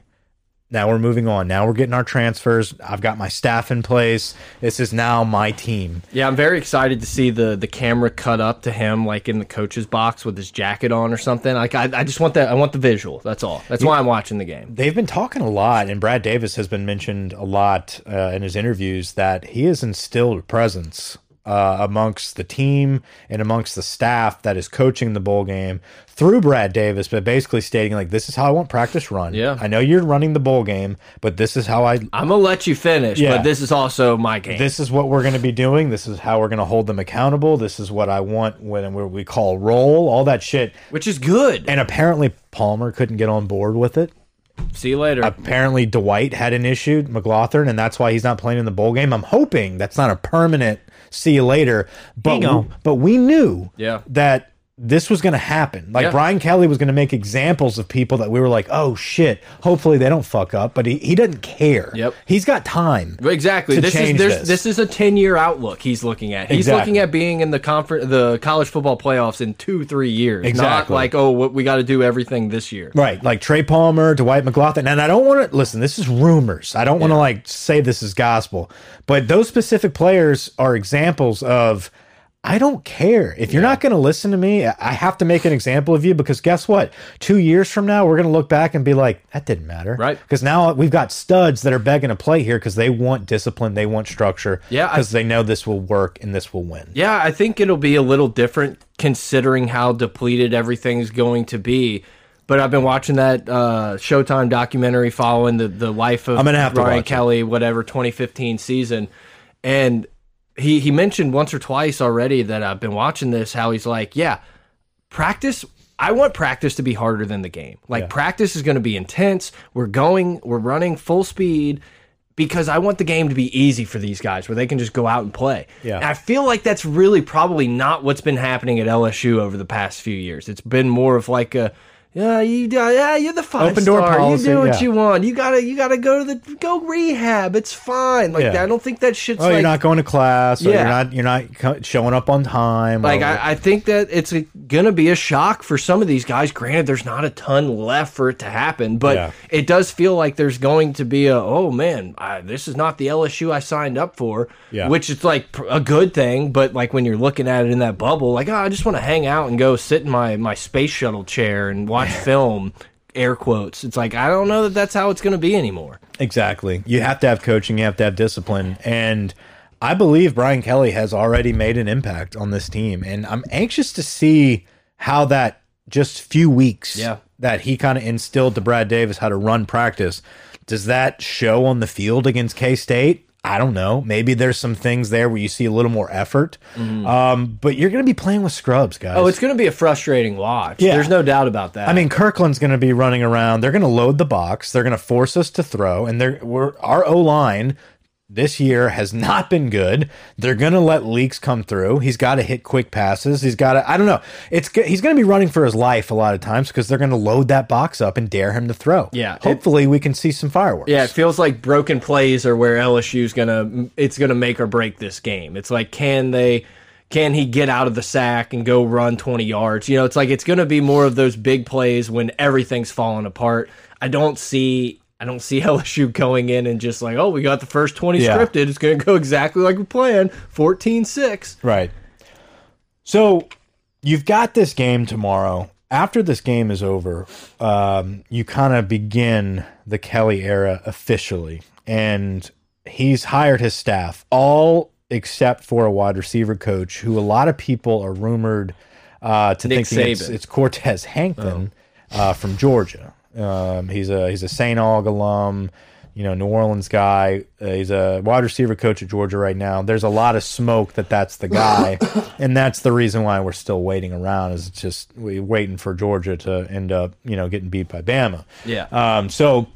Speaker 2: now we're moving on. Now we're getting our transfers. I've got my staff in place. This is now my team.
Speaker 1: Yeah, I'm very excited to see the the camera cut up to him, like in the coach's box with his jacket on or something. Like I, I just want that. I want the visual. That's all. That's why I'm watching the game.
Speaker 2: They've been talking a lot, and Brad Davis has been mentioned a lot uh, in his interviews that he has instilled a presence uh, amongst the team and amongst the staff that is coaching the bowl game through Brad Davis, but basically stating like, "This is how I want practice run.
Speaker 1: Yeah.
Speaker 2: I know you're running the bowl game, but this is how I
Speaker 1: I'm gonna let you finish,
Speaker 2: Yeah.
Speaker 1: but this is also my game.
Speaker 2: this is what we're going to be doing. This is how we're going to hold them accountable. This is what I want when we- we call roll, all that shit."
Speaker 1: which is good.
Speaker 2: And apparently Palmer couldn't get on board with it.
Speaker 1: See you later.
Speaker 2: apparently Dwight had an issue, McLaughlin, and that's why he's not playing in the bowl game. I'm hoping that's not a permanent see you later. But
Speaker 3: Hang on.
Speaker 2: we, but we knew
Speaker 1: Yeah.
Speaker 2: that this was going to happen. Like
Speaker 1: Yeah.
Speaker 2: Brian Kelly was going to make examples of people that we were like, oh shit, hopefully they don't fuck up. But he, he doesn't care.
Speaker 1: Yep.
Speaker 2: He's got time.
Speaker 1: Exactly.
Speaker 2: to
Speaker 1: This is
Speaker 2: change
Speaker 1: there's,
Speaker 2: this.
Speaker 1: this. is a ten year outlook he's looking at. He's
Speaker 2: Exactly.
Speaker 1: looking at being in the conference, the college football playoffs in two, three years. Not
Speaker 2: Exactly.
Speaker 1: like oh, what we got to do everything this year.
Speaker 2: Right, like Trey Palmer, Dwight McLaughlin, and I don't want to listen. This is rumors. I don't want to like say this is gospel, but those specific players are examples of. I don't care if you're not going to listen to me. I I have to make an example of you because guess what? Two years from now, we're going to look back and be like, that didn't matter,
Speaker 1: Right.
Speaker 2: Because now we've got studs that are begging to play here because they want discipline, they want structure,
Speaker 1: Yeah, I-
Speaker 2: because they know this will work and this will win.
Speaker 1: Yeah, I think it'll be a little different considering how depleted everything's going to be. But I've been watching that uh, Showtime documentary following the, the life of
Speaker 2: I'm gonna have to
Speaker 1: Ryan
Speaker 2: watch it.
Speaker 1: Kelly, whatever 2015 season, and he he mentioned once or twice already that I've been watching this how he's like, yeah, practice I want practice to be harder than the game. Like practice is going to be intense. We're going, we're running full speed because I want the game to be easy for these guys where they can just go out and play.
Speaker 2: Yeah.
Speaker 1: And I feel like that's really probably not what's been happening at LSU over the past few years. It's been more of like a yeah, you yeah, you're the five
Speaker 2: Open door
Speaker 1: star.
Speaker 2: policy,
Speaker 1: you do what
Speaker 2: yeah.
Speaker 1: you want. You gotta you gotta go to the go rehab. It's fine. Like
Speaker 2: Yeah.
Speaker 1: I don't think that shit's
Speaker 2: Oh,
Speaker 1: like
Speaker 2: you're not going to class. Or
Speaker 1: Yeah.
Speaker 2: you're not. You're not co- showing up on time. or-
Speaker 1: like I, I think that it's a, gonna be a shock for some of these guys. Granted, there's not a ton left for it to happen, but
Speaker 2: Yeah.
Speaker 1: it does feel like there's going to be a oh man, I, this is not the LSU I signed up for.
Speaker 2: Yeah.
Speaker 1: which is like pr- a good thing, but like when you're looking at it in that bubble, like oh, I just want to hang out and go sit in my my space shuttle chair and watch film. Air quotes. It's like I don't know that that's how it's going to be anymore.
Speaker 2: Exactly. You have to have coaching, you have to have discipline. And I believe Brian Kelly has already made an impact on this team. And I'm anxious to see how that just few weeks
Speaker 1: Yeah.
Speaker 2: that he kind of instilled to Brad Davis how to run practice. Does that show on the field against K State? I don't know. Maybe there's some things there where you see a little more effort. Um, but you're going to be playing with scrubs, guys.
Speaker 1: Mm-hmm. Oh, it's going to be a frustrating watch.
Speaker 2: Yeah.
Speaker 1: There's no doubt about that.
Speaker 2: I mean, Kirkland's going to be running around. They're going to load the box. They're going to force us to throw. And they're, we're, our O line this year has not been good. They're going to let leaks come through. He's got to hit quick passes. He's got to, I don't know. It's go- He's going to be running for his life a lot of times because they're going to load that box up and dare him to throw.
Speaker 1: Yeah, it-
Speaker 2: Hopefully, we can see some fireworks.
Speaker 1: Yeah, it feels like broken plays are where LSU's gonna it's gonna make or break this game. It's like can they can he get out of the sack and go run 20 yards? You know, it's like it's gonna be more of those big plays when everything's falling apart. I don't see I don't see LSU going in and just like, oh, we got the first 20
Speaker 2: Yeah.
Speaker 1: scripted. It's gonna go exactly like we planned. 14-6.
Speaker 2: Right. So you've got this game tomorrow. after this game is over, um, you kind of begin the Kelly era officially, and he's hired his staff all except for a wide receiver coach, who a lot of people are rumored uh, to
Speaker 1: Nick
Speaker 2: thinking it's,
Speaker 1: Saban.
Speaker 2: it's Cortez Hankton uh, from Georgia. Um, he's a he's a Saint Aug alum, you know, New Orleans guy. Uh, he's a wide receiver coach at Georgia right now. There's a lot of smoke that that's the guy, and that's the reason why we're still waiting around. Is it's just we waiting for Georgia to end up, you know, getting beat by Bama.
Speaker 1: Yeah.
Speaker 2: Um, so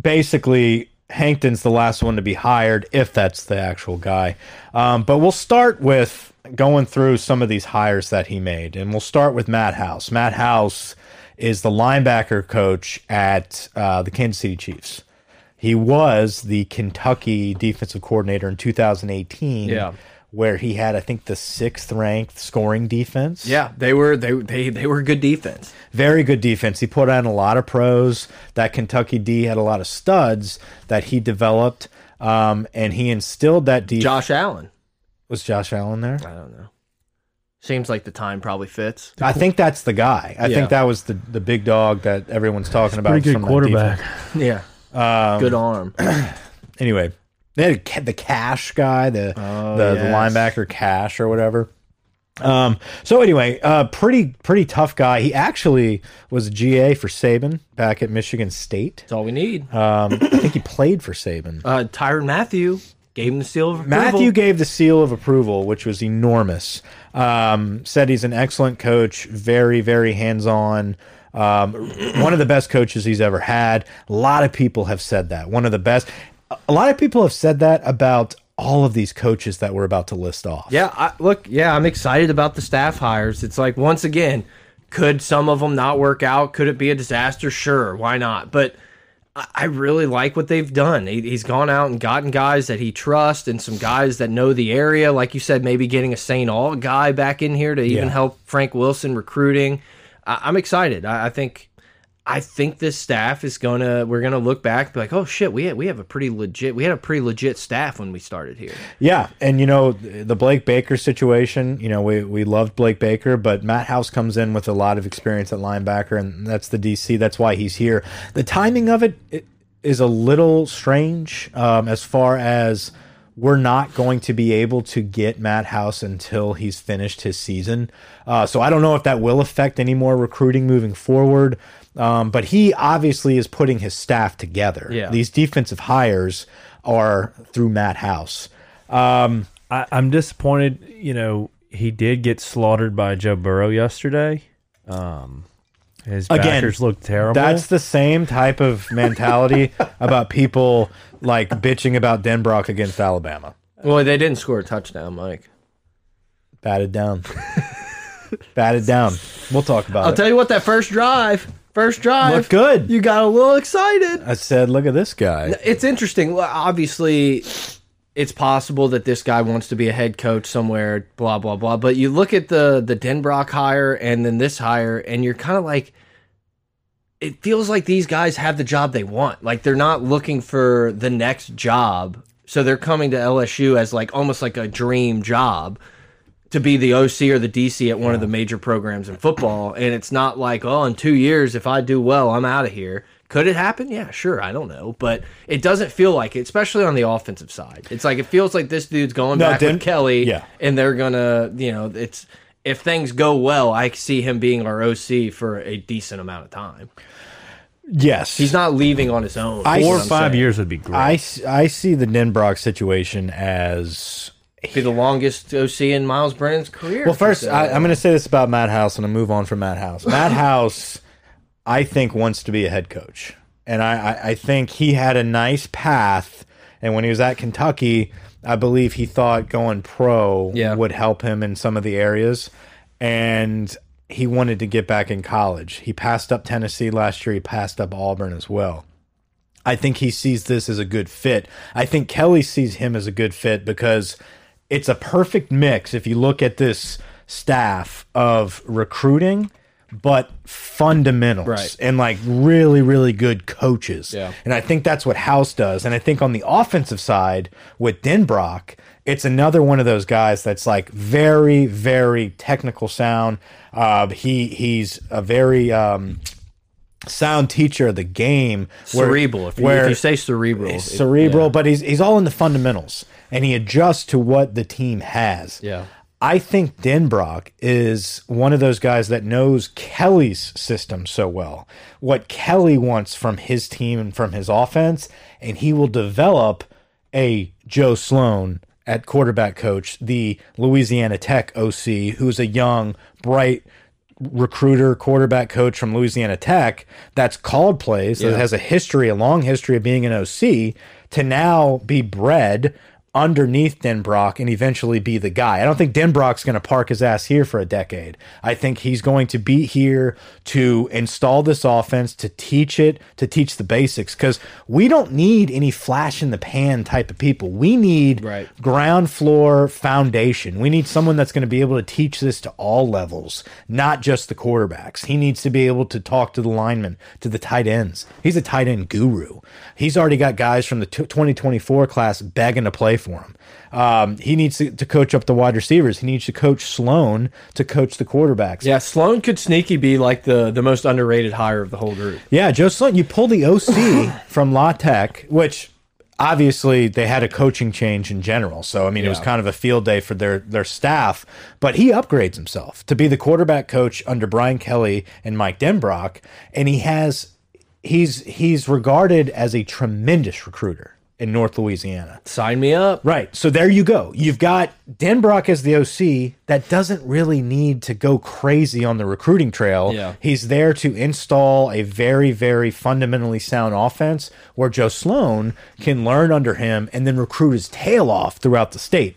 Speaker 2: basically, Hankton's the last one to be hired if that's the actual guy. Um, but we'll start with going through some of these hires that he made, and we'll start with Matt House. Matt House is the linebacker coach at uh, the Kansas City Chiefs. He was the Kentucky defensive coordinator in 2018.
Speaker 1: Yeah.
Speaker 2: Where he had, I think, the sixth ranked scoring defense
Speaker 1: Yeah, they were they they they were good defense.
Speaker 2: very good defense. He put on a lot of pros. That Kentucky D had a lot of studs that he developed, um, and he instilled that defense.
Speaker 1: Josh Allen.
Speaker 2: was Josh Allen there?
Speaker 1: I don't know. Seems like the time probably fits.
Speaker 2: I think that's the guy. I
Speaker 1: Yeah.
Speaker 2: think that was the the big dog that everyone's talking about.
Speaker 3: Pretty
Speaker 2: from
Speaker 3: good
Speaker 2: that
Speaker 3: quarterback.
Speaker 2: defense.
Speaker 1: Yeah. Um, Good arm.
Speaker 2: Anyway, they had ca- the Cash guy, the the, the
Speaker 1: yes.
Speaker 2: linebacker Cash or whatever. Um, so anyway, uh, pretty pretty tough guy. He actually was a GA for Saban back at Michigan State.
Speaker 1: That's all we need.
Speaker 2: Um, I think he played for Saban.
Speaker 1: Uh, Tyron Matthew gave him the seal of approval.
Speaker 2: Matthew gave the seal of approval, which was enormous. Um, said he's an excellent coach, very, very hands on. Um, one of the best coaches he's ever had. A lot of people have said that. One of the best. A lot of people have said that about all of these coaches that we're about to list off.
Speaker 1: Yeah, I, look, yeah, I'm excited about the staff hires. It's like once again, could some of them not work out? Could it be a disaster? Sure, why not? But I, I really like what they've done. He, he's gone out and gotten guys that he trusts and some guys that know the area. Like you said, maybe getting a St. All guy back in here to even
Speaker 2: Yeah.
Speaker 1: help Frank Wilson recruiting. I, I'm excited. I, I think. I think this staff is gonna. We're gonna look back, and be like, oh shit, we had, we have a pretty legit. We had a pretty legit staff when we started here.
Speaker 2: Yeah, and you know th- the Blake Baker situation. You know we we loved Blake Baker, but Matt House comes in with a lot of experience at linebacker, and that's the DC. That's why he's here. The timing of it i- is a little strange, um, as far as we're not going to be able to get Matt House until he's finished his season. Uh, so I don't know if that will affect any more recruiting moving forward. Um, but he obviously is putting his staff together.
Speaker 1: Yeah.
Speaker 2: These defensive hires are through Matt House. Um,
Speaker 3: I, I'm disappointed. You know, he did get slaughtered by Joe Burrow yesterday. Um, his
Speaker 2: Again,
Speaker 3: backers look terrible.
Speaker 2: That's the same type of mentality about people like bitching about Denbrock against Alabama.
Speaker 1: Well, they didn't score a touchdown, Mike.
Speaker 2: Batted down. Batted down. We'll talk about
Speaker 1: I'll
Speaker 2: it.
Speaker 1: tell you what, that first drive, first drive,
Speaker 2: Looked good.
Speaker 1: You got a little excited.
Speaker 2: I said, look at this guy.
Speaker 1: It's interesting. Well, Obviously, it's possible that this guy wants to be a head coach somewhere. Blah blah blah. But you look at the the Denbrock hire and then this hire, and you're kind of like, it feels like these guys have the job they want. Like they're not looking for the next job, so they're coming to LSU as like almost like a dream job. to be the OC or the DC at one of the major programs in football. And it's not like, oh, in two years, if I do well, I'm out of here. Could it happen? Yeah, sure. I don't know. But it doesn't feel like it, especially on the offensive side. It's like, it feels like this dude's going
Speaker 2: No,
Speaker 1: back
Speaker 2: Den-
Speaker 1: with Kelly
Speaker 2: yeah.
Speaker 1: and they're going to, you know, it's. If things go well, I see him being our OC for a decent amount of time.
Speaker 2: Yes.
Speaker 1: He's not leaving on his own.
Speaker 2: I-
Speaker 1: is
Speaker 3: four
Speaker 1: what
Speaker 3: or
Speaker 1: I'm
Speaker 3: five
Speaker 1: saying.
Speaker 3: years would be great.
Speaker 1: Um,
Speaker 2: I, s- I see the Denbrock situation as
Speaker 1: Be the longest OC in Miles Brennan's career.
Speaker 2: Well, first, I, I'm going to say this about Matt House, and I move on from Matt House. Matt House, I think, wants to be a head coach, and I, I, I think he had a nice path. And when he was at Kentucky, I believe he thought going pro
Speaker 1: Yeah.
Speaker 2: would help him in some of the areas, and he wanted to get back in college. He passed up Tennessee last year. He passed up Auburn as well. I think he sees this as a good fit. I think Kelly sees him as a good fit because it's a perfect mix. If you look at this staff of recruiting, but fundamentals
Speaker 1: Right.
Speaker 2: and like really, really good coaches.
Speaker 1: Yeah.
Speaker 2: And I think that's what House does. And I think on the offensive side with Denbrock, it's another one of those guys that's like very, very technical sound. Uh, he he's a very um, sound teacher of the game. where-
Speaker 1: cerebral. If you, if you say cerebral, it-
Speaker 2: cerebral, but he's he's all in the fundamentals and he adjusts to what the team has.
Speaker 1: Yeah.
Speaker 2: I think Denbrock is one of those guys that knows Kelly's system so well, what Kelly wants from his team and from his offense, and he will develop a Joe Sloan at quarterback coach, the Louisiana Tech OC, who's a young, bright recruiter, quarterback coach from Louisiana Tech that's called plays, that has a history, a long history of being an OC, to now be bred underneath Denbrock and eventually be the guy. I don't think Denbrock's going to park his ass here for a decade. I think he's going to be here to install this offense, to teach it, to teach the basics cuz we don't need any flash in the pan type of people. We need
Speaker 1: Right.
Speaker 2: ground floor foundation. We need someone that's going to be able to teach this to all levels, not just the quarterbacks. He needs to be able to talk to the linemen, to the tight ends. He's a tight end guru. He's already got guys from the t- 2024 class begging to play for him. Um, he needs to, to coach up the wide receivers. He needs to coach Sloan to coach the quarterbacks.
Speaker 1: Yeah, Sloan could sneaky be like the the most underrated hire of the whole group.
Speaker 2: Yeah, Joe Sloan, you pull the OC from La Tech, which obviously they had a coaching change in general. So I mean, it was kind of a field day for their their staff. But he upgrades himself to be the quarterback coach under Brian Kelly and Mike Denbrock, and he has he's he's regarded as a tremendous recruiter in North Louisiana.
Speaker 1: Sign me up.
Speaker 2: Right. So there you go. You've got Denbrock as the OC that doesn't really need to go crazy on the recruiting trail.
Speaker 1: Yeah.
Speaker 2: He's there to install a very, very fundamentally sound offense where Joe Sloan can learn under him and then recruit his tail off throughout the state.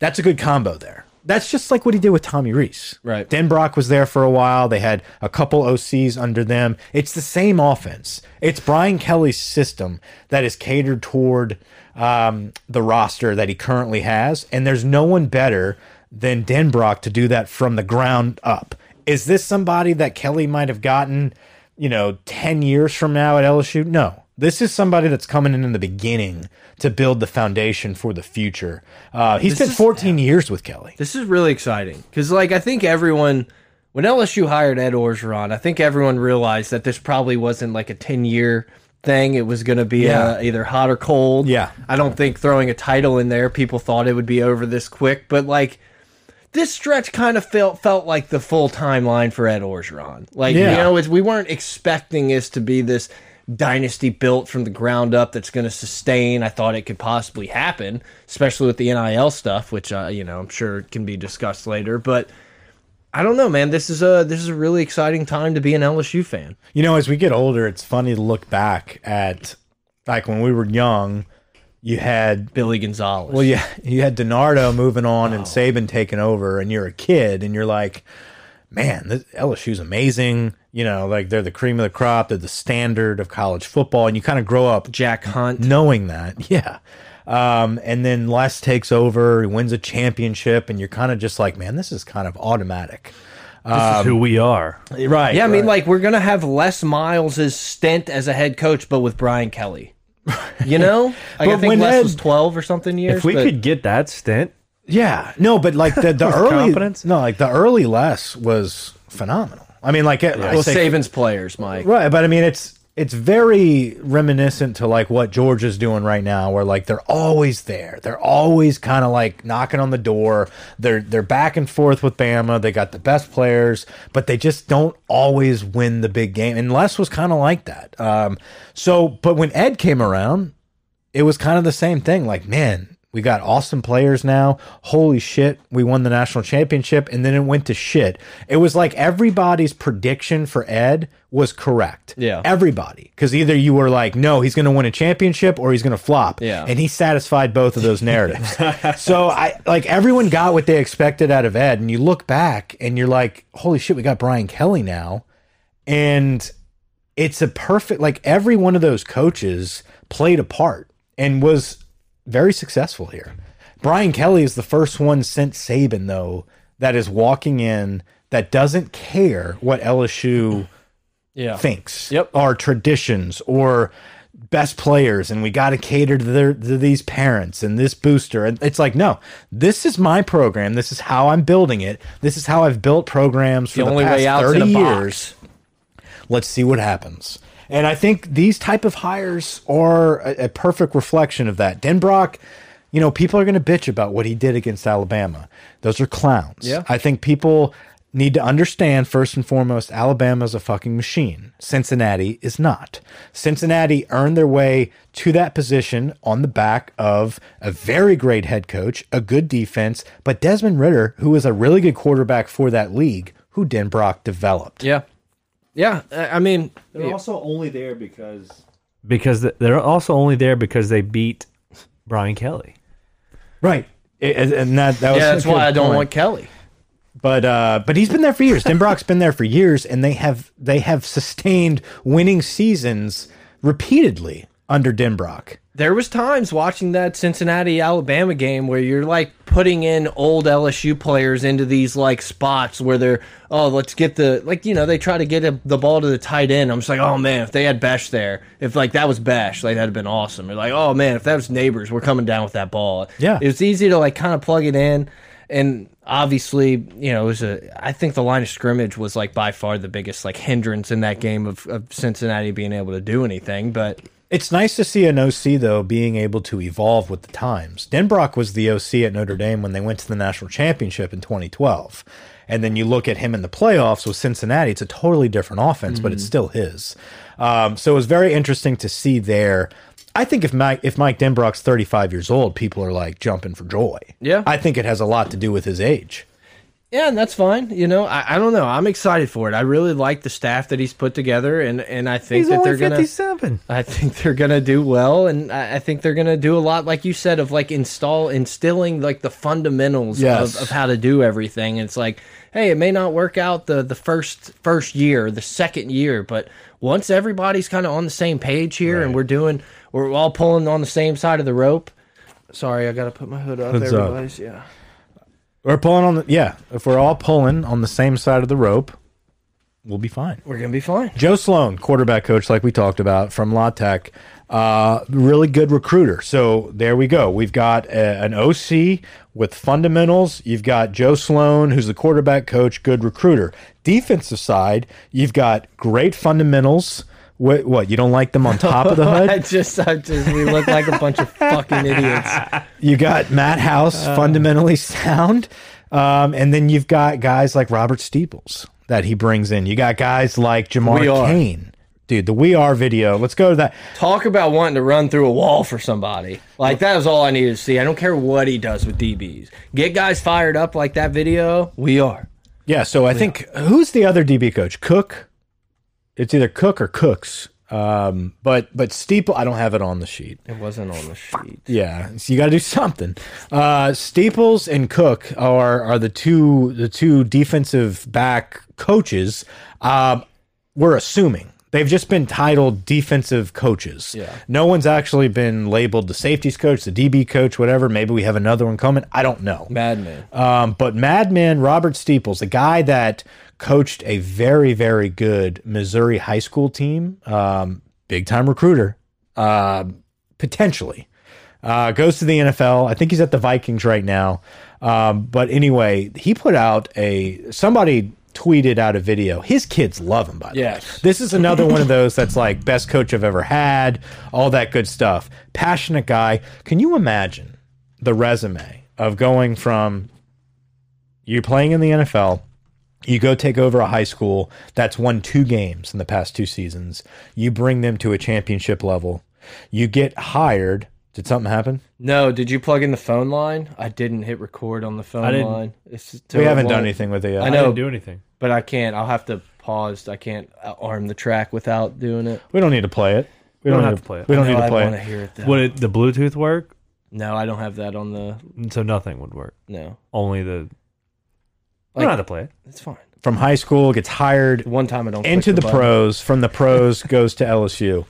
Speaker 2: That's a good combo there. That's just like what he did with Tommy Reese.
Speaker 1: Right.
Speaker 2: Denbrock was there for a while. They had a couple OCs under them. It's the same offense. It's Brian Kelly's system that is catered toward um, the roster that he currently has, and there's no one better than Denbrock to do that from the ground up. Is this somebody that Kelly might have gotten, you know, ten years from now at LSU? No. This is somebody that's coming in in the beginning to build the foundation for the future. Uh, he spent 14 years with Kelly.
Speaker 1: This is really exciting because, like, I think everyone when LSU hired Ed Orgeron, I think everyone realized that this probably wasn't like a ten year thing. It was going to be
Speaker 2: Yeah.
Speaker 1: uh, either hot or cold.
Speaker 2: Yeah.
Speaker 1: I don't think throwing a title in there, people thought it would be over this quick, but like. This stretch kind of felt felt like the full timeline for Ed Orgeron. Like
Speaker 2: Yeah.
Speaker 1: you know, it's, we weren't expecting this to be this dynasty built from the ground up that's going to sustain. I thought it could possibly happen, especially with the NIL stuff, which uh, you know I'm sure can be discussed later. But I don't know, man. This is a this is a really exciting time to be an LSU fan.
Speaker 2: You know, as we get older, it's funny to look back at like when we were young, you had
Speaker 1: Billy Gonzalez.
Speaker 2: well, yeah, you had Donardo moving on and Saban taking over, and you're a kid, and you're like, man, this LSU's amazing. You know, like they're the cream of the crop, they're the standard of college football, and you kind of grow up
Speaker 1: Jack Hunt.
Speaker 2: knowing that. Yeah. Um, and then Les takes over, he wins a championship, and you're kind of just like, man, this is kind of automatic.
Speaker 3: This is who we are.
Speaker 2: Right.
Speaker 1: Yeah, I mean, like we're gonna have Les Miles' stint as a head coach, but with Brian Kelly. You know, like, I
Speaker 2: But when
Speaker 1: think Les
Speaker 2: Ed-
Speaker 1: was twelve or something years.
Speaker 3: If we
Speaker 1: but-
Speaker 3: could get that stint,
Speaker 2: Yeah, no, but like the the early
Speaker 3: confidence?
Speaker 2: no, like the early less was phenomenal. I mean, like it, I
Speaker 1: well,
Speaker 2: say-
Speaker 1: Saban's players, Mike.
Speaker 2: right, but I mean it's it's very reminiscent to like what Georgia's doing right now, where like they're always there, they're always kind of like knocking on the door. They're they're back and forth with Bama. They got the best players, but they just don't always win the big game. And Les was kind of like that. Um, so, but when Ed came around, it was kind of the same thing. Like, man, we got awesome players now. Holy shit, we won the national championship, and then it went to shit. It was like everybody's prediction for Ed was correct.
Speaker 1: Yeah.
Speaker 2: everybody, because either you were like, no, he's going to win a championship, or he's going to flop.
Speaker 1: Yeah.
Speaker 2: and he satisfied both of those narratives. so I like everyone got what they expected out of Ed, and you look back and you're like, holy shit, we got Brian Kelly now, and it's a perfect like every one of those coaches played a part and was very successful here. Brian Kelly is the first one since Saban though that is walking in that doesn't care what LSU
Speaker 1: Yeah.
Speaker 2: thinks
Speaker 1: Yep.
Speaker 2: or traditions or best players and we got to cater to, their, to these parents and this booster and it's like no this is my program this is how i'm building it this is how i've built programs for the,
Speaker 1: only
Speaker 2: past
Speaker 1: way out's
Speaker 2: 30
Speaker 1: in a box.
Speaker 2: years let's see what happens and i think these type of hires are a, a perfect reflection of that denbrock you know people are going to bitch about what he did against alabama those are clowns
Speaker 1: Yeah.
Speaker 2: I think people need to understand first and foremost Alabama's a fucking machine. Cincinnati is not. Cincinnati earned their way to that position on the back of a very great head coach, a good defense, but Desmond Ritter, who is a really good quarterback for that league, who Den Brock developed.
Speaker 1: Yeah. Yeah. I I mean,
Speaker 4: They're also only there because
Speaker 3: because th- they're also only there because they beat Brian Kelly.
Speaker 2: Right. And and that, that was
Speaker 1: yeah,
Speaker 2: a
Speaker 1: that's
Speaker 2: good
Speaker 1: why I don't
Speaker 2: point.
Speaker 1: want Kelly.
Speaker 2: But uh, but he's been there for years. Denbrock's been there for years, and they have they have sustained winning seasons repeatedly under Denbrock.
Speaker 1: There was times watching that Cincinnati Alabama game where you're like putting in old LSU players into these like spots where they're oh let's get the like you know they try to get a, the ball to the tight end. I'm just like oh man if they had Besh there if like that was Besh like that'd have been awesome. Or like oh man if that was neighbors we're coming down with that ball.
Speaker 2: Yeah.
Speaker 1: it was easy to like kind of plug it in and obviously you know it was a I think the line of scrimmage was like by far the biggest like hindrance in that game of, of Cincinnati being able to do anything. But
Speaker 2: It's nice to see an OC though being able to evolve with the times. Denbrock was the OC at Notre Dame when they went to the national championship in 2012, and then you look at him in the playoffs with Cincinnati. It's a totally different offense, but it's still his. Um, so it was very interesting to see there. I think if Mike if Mike Denbrock's 35 years old, people are like jumping for joy.
Speaker 1: Yeah.
Speaker 2: I think it has a lot to do with his age.
Speaker 1: Yeah, and that's fine. You know, I, I don't know. I'm excited for it. I really like the staff that he's put together, and and I think that they're gonna.
Speaker 3: fifty-seven.
Speaker 1: I think they're gonna do well, and I, I think they're gonna do a lot, like you said, of like install instilling like the fundamentals
Speaker 2: Yes.
Speaker 1: of, of how to do everything. And it's like, hey, it may not work out the the first first year, the second year, but once everybody's kind of on the same page here, and we're doing, we're all pulling on the same side of the rope. Sorry, I gotta put my hood up.
Speaker 2: Hood's up.
Speaker 1: everybody's yeah.
Speaker 2: We're pulling on the yeah. If we're all pulling on the same side of the rope, we'll be fine.
Speaker 1: We're gonna be fine.
Speaker 2: Joe Sloan, quarterback coach, like we talked about from La Tech, uh, really good recruiter. So there we go. We've got a, an OC with fundamentals. You've got Joe Sloan, who's the quarterback coach, good recruiter. Defensive side, you've got great fundamentals. What, what you don't like them on top of the
Speaker 1: I
Speaker 2: hood?
Speaker 1: just, I just, we look like a bunch of fucking idiots.
Speaker 2: You got Matt House,
Speaker 1: Uh.
Speaker 2: fundamentally sound, um, and then you've got guys like Robert Steeples that he brings in. You got guys like
Speaker 1: We
Speaker 2: Jamar
Speaker 1: Are.
Speaker 2: Kane, dude. The We Are video. Let's go to that.
Speaker 1: Talk about wanting to run through a wall for somebody. Like that is all I needed to see. I don't care what he does with DBs. Get guys fired up like that video. We are.
Speaker 2: Yeah, so I think who's the other DB coach? Cook. It's either Cook or Cooks. Um, but but Steeple, I don't have it on the sheet.
Speaker 1: It wasn't on the sheet.
Speaker 2: Yeah, so you got to do something. Uh, Staples and Cook are are the two the two defensive back coaches. Um, we're assuming they've just been titled defensive coaches. Yeah, no one's actually been labeled the safeties coach, the DB coach, whatever. Maybe we have another one coming. I don't know.
Speaker 1: Madman.
Speaker 2: Um, but Madman Robert Steeples, the guy that coached a very, very good Missouri high school team, um, big time recruiter, uh, potentially, uh, goes to the NFL. I think he's at the Vikings right now. Um, but anyway, he put out a somebody tweeted out a video. His kids love him, by the
Speaker 1: Yes.
Speaker 2: way. This is another one of those that's like best coach I've ever had, all that good stuff. Passionate guy. Can you imagine the resume of going from you're playing in the NFL, you go take over a high school that's won two games in the past two seasons, you bring them to a championship level, you get hired. Did something happen?
Speaker 1: No, did you plug in the phone line? I didn't hit record on the phone
Speaker 3: I didn't.
Speaker 1: line. It's just
Speaker 2: We haven't
Speaker 1: terrible.
Speaker 2: done anything with it yet.
Speaker 1: I
Speaker 3: I
Speaker 1: know.
Speaker 3: didn't do anything.
Speaker 1: but I can't. I'll have to pause. I can't uh, arm the track without doing it.
Speaker 2: We don't need to play it. We
Speaker 3: don't
Speaker 2: don't,
Speaker 3: have
Speaker 2: need
Speaker 3: to play it.
Speaker 2: We don't
Speaker 1: No,
Speaker 2: need to
Speaker 1: I
Speaker 2: play
Speaker 1: want to
Speaker 2: it.
Speaker 1: hear it though.
Speaker 3: Would it, the Bluetooth work?
Speaker 1: No, I don't have that on the.
Speaker 3: So nothing would work.
Speaker 1: No,
Speaker 3: Only the. I
Speaker 1: Like-
Speaker 3: don't know how to play it.
Speaker 1: it's fine.
Speaker 2: From high school, gets hired
Speaker 1: One time I don't click
Speaker 2: into the,
Speaker 1: button.
Speaker 2: pros, from the pros goes to LSU.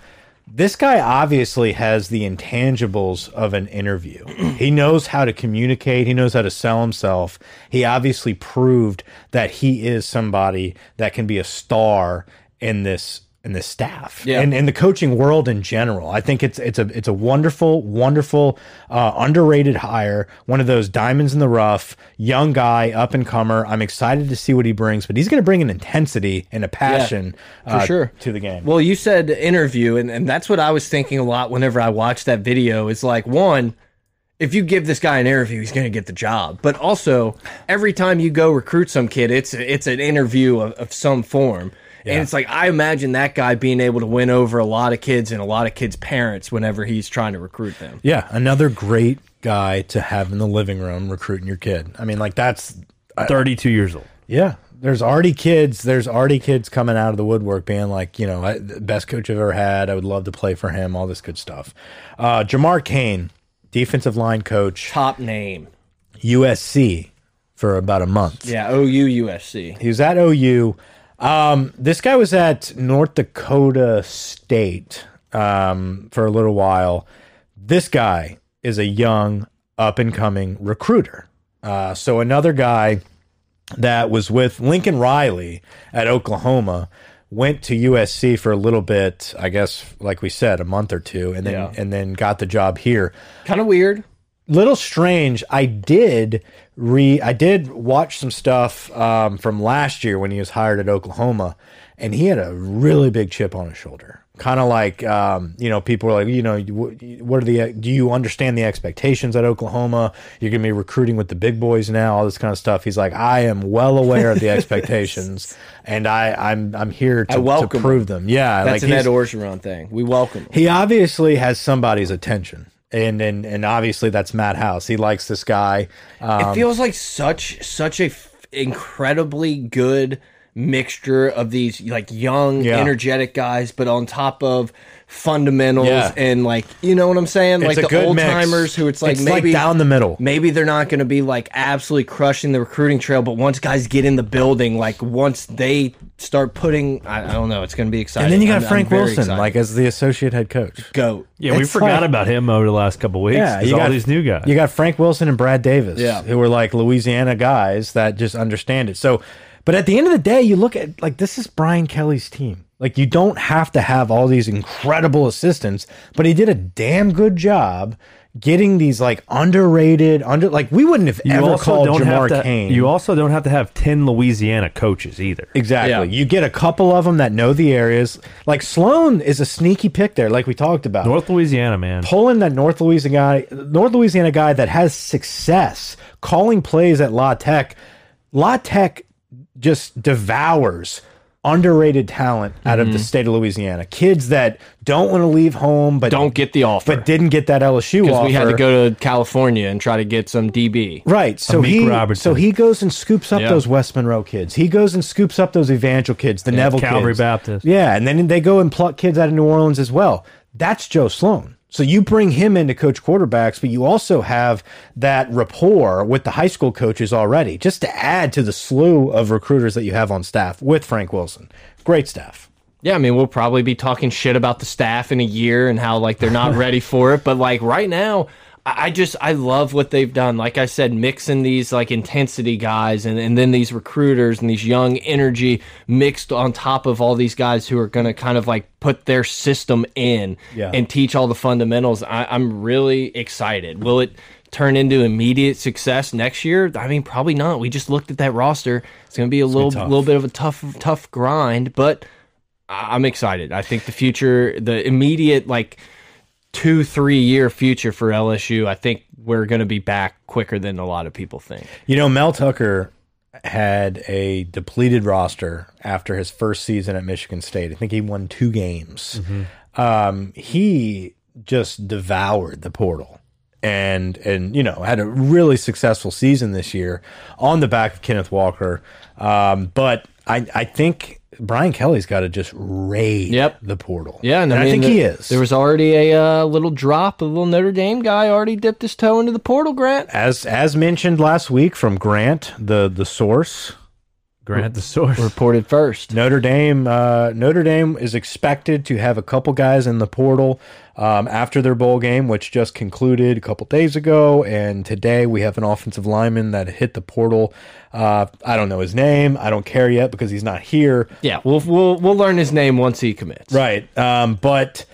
Speaker 2: this guy obviously has the intangibles of an interview. he knows how to communicate, he knows how to sell himself. He obviously proved that he is somebody that can be a star in this in this staff
Speaker 1: Yeah.
Speaker 2: and in the coaching world in general. I think it's it's a it's a wonderful wonderful uh, underrated hire, one of those diamonds in the rough, young guy, up and comer. I'm excited to see what he brings, but he's going to bring an intensity and a passion uh,
Speaker 1: sure.
Speaker 2: to the game.
Speaker 1: Well, you said interview, and, and that's what I was thinking a lot whenever I watched that video. Is like, one, if you give this guy an interview, he's going to get the job. But also, every time you go recruit some kid, it's it's an interview of, of some form. And it's like, I imagine that guy being able to win over a lot of kids and a lot of kids' parents whenever he's trying to recruit them.
Speaker 2: Yeah, another great guy to have in the living room recruiting your kid. I mean, like that's
Speaker 3: 32 years old.
Speaker 2: yeah. There's already kids. There's already kids coming out of the woodwork, being like, you know, I, the best coach I've ever had. I would love to play for him. All this good stuff. Uh, Jamar Kane, defensive line coach,
Speaker 1: Top name.
Speaker 2: USC for about a month.
Speaker 1: Yeah, OU USC.
Speaker 2: He was at OU. Um, this guy was at North Dakota State um, for a little while. This guy is a young, up and coming recruiter. Uh, so another guy that was with Lincoln Riley at Oklahoma went to USC for a little bit. I guess, like we said, a month or two, and then and then got the job here
Speaker 1: Kind of weird.
Speaker 2: little strange. I did re I did watch some stuff um, from last year when he was hired at Oklahoma, and he had a really big chip on his shoulder. Kind of like um, you know, people were like, you know, wh- what are the? Do you understand the expectations at Oklahoma? You're going to be recruiting with the big boys now, all this kind of stuff. He's like, I am well aware of the expectations, and I I'm I'm here to, to
Speaker 1: welcome
Speaker 2: prove them. Yeah,
Speaker 1: That's
Speaker 2: like
Speaker 1: an
Speaker 2: he's-
Speaker 1: Ed Orgeron thing. We welcome him.
Speaker 2: he obviously has somebody's attention. And, and and obviously that's Matt House. He likes this guy. Um,
Speaker 1: it feels like such such a f incredibly good mixture of these like young
Speaker 2: Yeah.
Speaker 1: energetic guys but on top of fundamentals
Speaker 2: Yeah.
Speaker 1: and like you know what i'm saying
Speaker 2: it's
Speaker 1: like
Speaker 2: a
Speaker 1: the
Speaker 2: good
Speaker 1: old
Speaker 2: mix.
Speaker 1: timers who it's like
Speaker 2: It's
Speaker 1: maybe
Speaker 2: down the middle.
Speaker 1: maybe they're not going to be like absolutely crushing the recruiting trail but once guys get in the building like once they start putting i, I don't know it's going to be exciting
Speaker 2: And then you got
Speaker 1: I'm- I'm
Speaker 2: Frank
Speaker 1: very
Speaker 2: Wilson,
Speaker 1: excited.
Speaker 2: like as the associate head coach.
Speaker 1: goat
Speaker 3: Yeah, we
Speaker 2: It's
Speaker 3: forgot
Speaker 2: like-
Speaker 3: about him over the last couple weeks. Yeah, all these new guys.
Speaker 2: You got Frank Wilson and Brad Davis,
Speaker 1: Yeah.
Speaker 2: who were like Louisiana guys that just understand it. So, but at the end of the day, you look at like this is Brian Kelly's team. Like you don't have to have all these incredible assistants, but he did a damn good job getting these like underrated under like we wouldn't have
Speaker 3: You
Speaker 2: ever
Speaker 3: also
Speaker 2: called
Speaker 3: don't
Speaker 2: Jamar
Speaker 3: have to,
Speaker 2: Kane.
Speaker 3: You also don't have to have ten Louisiana coaches either.
Speaker 2: Exactly. You get a couple of them that know the areas. Like Sloan is a sneaky pick there, like we talked about.
Speaker 3: North Louisiana, man.
Speaker 2: Pulling that North Louisiana guy, North Louisiana guy that has success calling plays at La Tech. La Tech just devours underrated talent out
Speaker 1: Mm-hmm.
Speaker 2: of the state of Louisiana. Kids that don't want to leave home, but
Speaker 1: don't get the offer
Speaker 2: but didn't get that LSU offer.
Speaker 1: we had to go to california and try to get some db
Speaker 2: Right. So
Speaker 3: Amik
Speaker 2: he
Speaker 3: Robertson.
Speaker 2: so he goes and scoops up
Speaker 1: Yeah.
Speaker 2: those West Monroe kids. He goes and scoops up those Evangel kids, the Neville
Speaker 3: Calvary
Speaker 2: kids.
Speaker 3: Baptist.
Speaker 2: Yeah, and then they go and pluck kids out of New Orleans as well. That's Joe Sloan. So you bring him in to coach quarterbacks, but you also have that rapport with the high school coaches already, just to add to the slew of recruiters that you have on staff with Frank Wilson. Great staff.
Speaker 1: Yeah, I mean, we'll probably be talking shit about the staff in a year and how like they're not ready for it. But like right now, I I just I love what they've done. Like I said, mixing these like intensity guys and, and then these recruiters and these young energy mixed on top of all these guys who are gonna kind of like put their system in
Speaker 2: Yeah.
Speaker 1: and teach all the fundamentals. I, I'm really excited. Will it turn into immediate success next year? I mean, probably not. We just looked at that roster. It's gonna be a little little bit of a tough tough grind, but I- I'm excited. I think the future, the immediate like two, three year future for LSU, I think we're going to be back quicker than a lot of people think.
Speaker 2: You know, Mel Tucker had a depleted roster after his first season at Michigan State. I think he won two games.
Speaker 1: Mm-hmm.
Speaker 2: Um, he just devoured the portal. And and you know had a really successful season this year on the back of Kenneth Walker, um, but I I think Brian Kelly's got to just raid
Speaker 1: Yep.
Speaker 2: the portal.
Speaker 1: Yeah,
Speaker 2: and, I,
Speaker 1: mean,
Speaker 2: think
Speaker 1: the-
Speaker 2: he is.
Speaker 1: There was already a uh, little drop, a little Notre Dame guy already dipped his toe into the portal, Grant.
Speaker 2: as as mentioned last week from Grant, the the source,
Speaker 3: Grant the source.
Speaker 5: reported first.
Speaker 2: Notre Dame. Uh, Notre Dame is expected to have a couple guys in the portal um, after their bowl game, which just concluded a couple days ago. And today we have an offensive lineman that hit the portal. Uh, I don't know his name. I don't care yet because he's not here.
Speaker 1: Yeah, we'll we'll we'll learn his name once he commits.
Speaker 2: Right. Um, but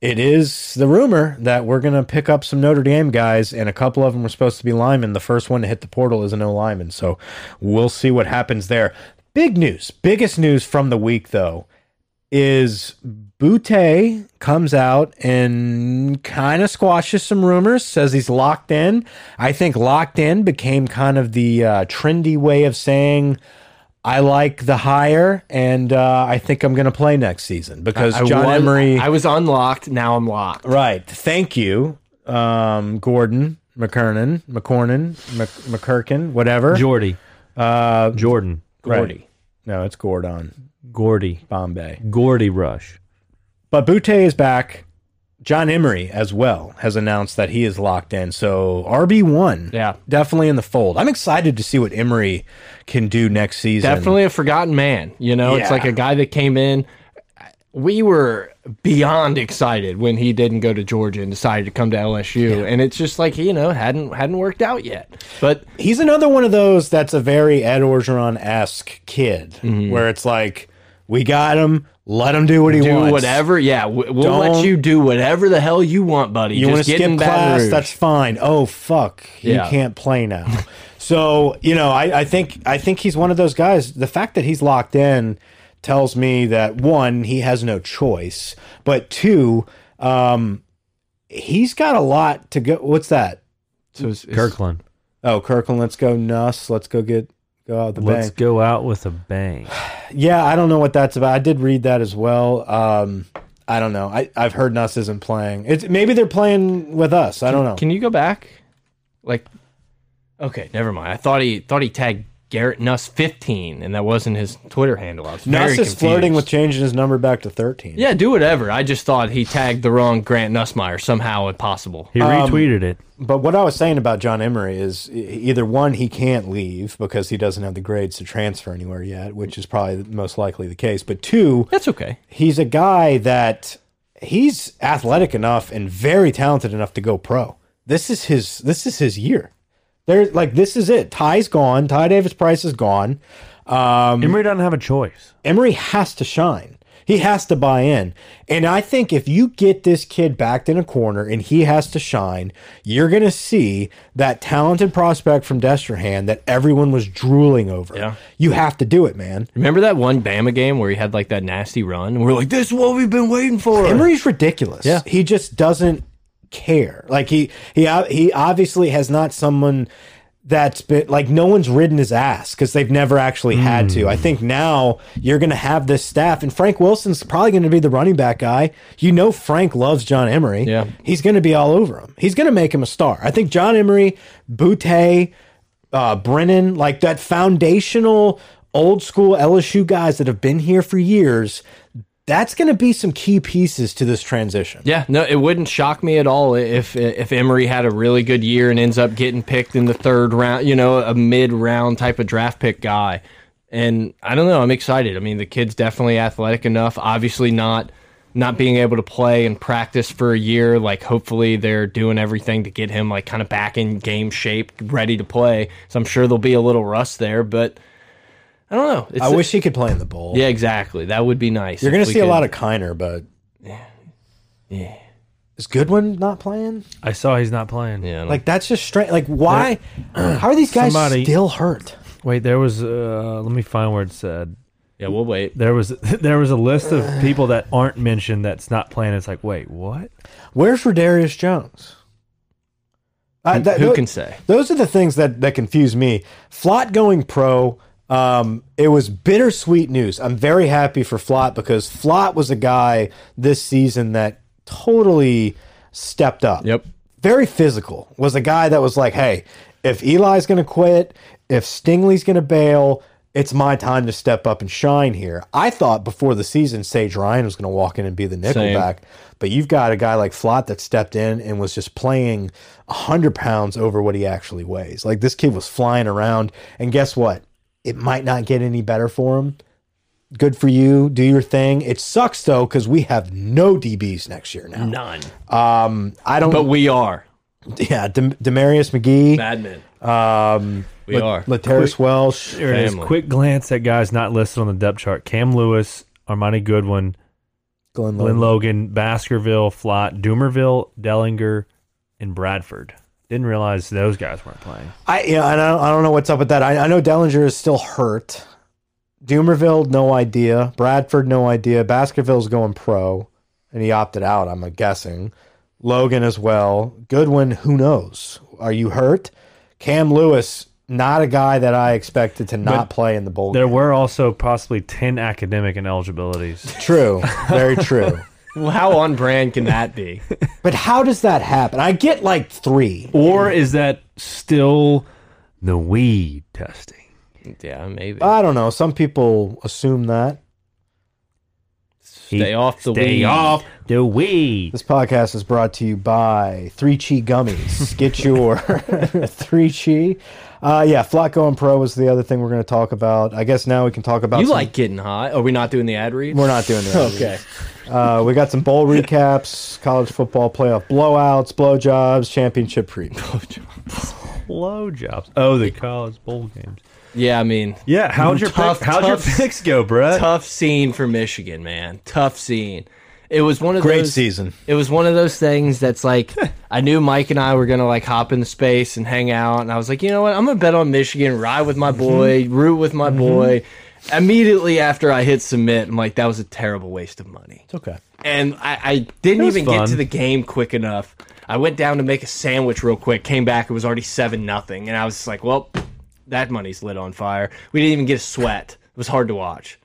Speaker 2: it is the rumor that we're going to pick up some Notre Dame guys, and a couple of them were supposed to be linemen. The first one to hit the portal is an O lineman. So we'll see what happens there. Big news, biggest news from the week, though, is Butte comes out and kind of squashes some rumors, says he's locked in. I think locked in became kind of the uh, trendy way of saying. I like the hire, and uh, I think I'm going to play next season because
Speaker 1: I
Speaker 2: John
Speaker 1: was-
Speaker 2: Emery.
Speaker 1: I was unlocked. Now I'm locked.
Speaker 2: Right. Thank you, um, Gordon McKernan, McCornan, Mc, McKirkin, whatever.
Speaker 3: Jordy. Uh, Jordan.
Speaker 2: Gordy. No, it's Gordon
Speaker 3: Gordy.
Speaker 2: Bombay.
Speaker 3: Gordy Rush.
Speaker 2: But Butte is back. John Emery as well has announced that he is locked in. So RB one,
Speaker 1: Yeah.
Speaker 2: definitely in the fold. I'm excited to see what Emery can do next season.
Speaker 1: Definitely a forgotten man. You know,
Speaker 2: Yeah.
Speaker 1: it's like a guy that came in. We were beyond excited when he didn't go to Georgia and decided to come to LSU, and it's just like you know hadn't hadn't worked out yet. But
Speaker 2: he's another one of those that's a very Ed Orgeron esque kid,
Speaker 1: Mm-hmm.
Speaker 2: where it's like, we got him, let him do what he
Speaker 1: do
Speaker 2: wants,
Speaker 1: whatever, yeah, we, we'll
Speaker 2: Don't-
Speaker 1: let you do whatever the hell you want, buddy.
Speaker 2: You want
Speaker 1: just
Speaker 2: to
Speaker 1: get
Speaker 2: skip
Speaker 1: in Baton
Speaker 2: class?
Speaker 1: Rouge.
Speaker 2: That's fine. Oh fuck,
Speaker 1: Yeah.
Speaker 2: you can't play now. so you know, I, I think I think he's one of those guys. The fact that he's locked in tells me that one, he has no choice, but two, um, he's got a lot to go. What's that?
Speaker 1: so it's, it's-
Speaker 3: Kirkland.
Speaker 2: Oh, Kirkland, let's go Nuss. Let's go get go out the
Speaker 3: Let's
Speaker 2: bank.
Speaker 3: go out with a bang.
Speaker 2: Yeah, I don't know what that's about. I did read that as well. Um, I don't know. I, I've heard Nuss isn't playing. It's maybe they're playing with us. I don't know.
Speaker 1: Oh. Can you go back? Like, okay, never mind. I thought he thought he tagged Garrett Nuss fifteen, and that wasn't his Twitter handle. I was very
Speaker 2: Nuss is
Speaker 1: confused.
Speaker 2: flirting with changing his number back to 13.
Speaker 1: Yeah, do whatever. I just thought he tagged the wrong Grant Nussmeyer somehow impossible.
Speaker 3: He retweeted it.
Speaker 2: But what I was saying about John Emery is e- either one, he can't leave because he doesn't have the grades to transfer anywhere yet, which is probably the- most likely the case. But two,
Speaker 1: That's okay.
Speaker 2: he's a guy that he's athletic enough and very talented enough to go pro. This is his this is his year. There's like this is it. Ty's gone. Ty Davis Price is gone. Um,
Speaker 3: Emery doesn't have a choice.
Speaker 2: Emery has to shine. He has to buy in. And I think if you get this kid backed in a corner and he has to shine, you're going to see that talented prospect from Destrehan that everyone was drooling over.
Speaker 1: Yeah.
Speaker 2: You have to do it, man.
Speaker 1: Remember that one Bama game where he had like that nasty run? And we're like, this is what we've been waiting for.
Speaker 2: Emery's ridiculous. Yeah. He just doesn't care. Like he he he obviously has not someone that's been like no one's ridden his ass because they've never actually had to. I think now you're gonna have this staff, and Frank Wilson's probably gonna be the running back guy. You know Frank loves John Emery.
Speaker 1: Yeah.
Speaker 2: He's gonna be all over him. He's gonna make him a star. I think John Emery, Butte, uh, Brennan, like that foundational old school LSU guys that have been here for years, that's going to be some key pieces to this transition.
Speaker 1: Yeah, no, it wouldn't shock me at all if if Emory had a really good year and ends up getting picked in the third round, you know, a mid round type of draft pick guy. And I don't know, I'm excited. I mean, the kid's definitely athletic enough. Obviously, not not being able to play and practice for a year. Like, hopefully, they're doing everything to get him like kind of back in game shape, ready to play. So I'm sure there'll be a little rust there, but I don't know. It's
Speaker 2: I wish he could play in the bowl.
Speaker 1: yeah, exactly. That would be nice.
Speaker 2: You're going to see a lot of Kiner, but. Yeah. Is Goodwin not playing?
Speaker 3: I saw he's not playing.
Speaker 1: yeah, I don't
Speaker 2: Like, that's just strange. Like, why? How are these guys
Speaker 3: Somebody-
Speaker 2: still hurt?
Speaker 3: Wait, there was. Uh, let me find where it said.
Speaker 1: yeah. We'll wait.
Speaker 3: There was there was a list of people that aren't mentioned that's not playing. It's like, wait, what?
Speaker 2: Where's Rodarius Jones? I- that-
Speaker 1: Who
Speaker 2: tho-
Speaker 1: can say?
Speaker 2: Those are the things that that confuse me. Flott going pro. Um, it was bittersweet news. I'm very happy for Flott because Flott was a guy this season that totally stepped up.
Speaker 1: Yep.
Speaker 2: Very physical. Was a guy that was like, hey, if Eli's going to quit, if Stingley's going to bail, it's my time to step up and shine here. I thought before the season, Sage Ryan was going to walk in and be the nickelback, but you've got a guy like Flott that stepped in and was just playing 100 pounds over what he actually weighs. Like this kid was flying around. And guess what? it might not get any better for him. Good for you. Do your thing. It sucks though because we have no DBs next year now.
Speaker 3: None.
Speaker 2: I don't.
Speaker 1: But we are
Speaker 2: yeah, Dem Demarius McGee,
Speaker 1: madmen.
Speaker 2: um,
Speaker 1: We are.
Speaker 2: Laterris Welsh.
Speaker 3: There it is.
Speaker 1: Family.
Speaker 3: Quick glance at guys not listed on the depth chart: Cam Lewis, Armani Goodwin,
Speaker 2: Glenn
Speaker 3: Glenn
Speaker 2: Lowe.
Speaker 3: Logan, Baskerville, Flott, Doomerville, Dellinger, and Bradford. Didn't realize those guys weren't playing.
Speaker 2: I yeah, and I don't, I don't know what's up with that. I, I know Dellinger is still hurt. Doomerville, no idea. Bradford, no idea. Baskerville's going pro, and he opted out. I'm guessing. Logan as well. Goodwin, who knows? Are you hurt? Cam Lewis, not a guy that I expected to not play in the bowl.
Speaker 3: There were also possibly ten academic ineligibilities.
Speaker 2: True, very true.
Speaker 1: How on brand can that be?
Speaker 2: But how does that happen? I get like three.
Speaker 3: or is that still the weed testing?
Speaker 1: yeah, maybe.
Speaker 2: I don't know. Some people assume that.
Speaker 1: Stay off the
Speaker 3: Stay
Speaker 1: weed.
Speaker 3: off the weed.
Speaker 2: This podcast is brought to you by Three Chi Gummies. Get your Three Chi. Uh, yeah, Flacco going Pro was the other thing we're going to talk about. I guess now we can talk about.
Speaker 1: You
Speaker 2: some-
Speaker 1: like getting hot? Are we not doing the ad read?
Speaker 2: We're not doing that.
Speaker 1: okay.
Speaker 2: Uh, we got some bowl recaps, college football playoff blowouts, blowjobs, championship preview.
Speaker 3: Low jobs. Oh, the college bowl games.
Speaker 1: Yeah, I mean,
Speaker 3: Yeah, how'd your
Speaker 1: Mm, Tough,
Speaker 3: pick, how'd your
Speaker 1: tough.
Speaker 3: picks go, Brett?
Speaker 1: tough scene for Michigan, man. Tough scene. It was one of those,
Speaker 2: season.
Speaker 1: It was one of those things that's like I knew Mike and I were gonna like hop into space and hang out, and I was like, you know what? I'm gonna bet on Michigan, ride with my boy, root with my boy. Immediately after I hit submit, I'm like, that was a terrible waste of money.
Speaker 2: It's okay.
Speaker 1: And I, I didn't
Speaker 3: It was
Speaker 1: even get
Speaker 3: fun.
Speaker 1: to the game quick enough. I went down to make a sandwich real quick, came back, it was already seven nothing, and I was just like, well, that money's lit on fire. We didn't even get a sweat. It was hard to watch.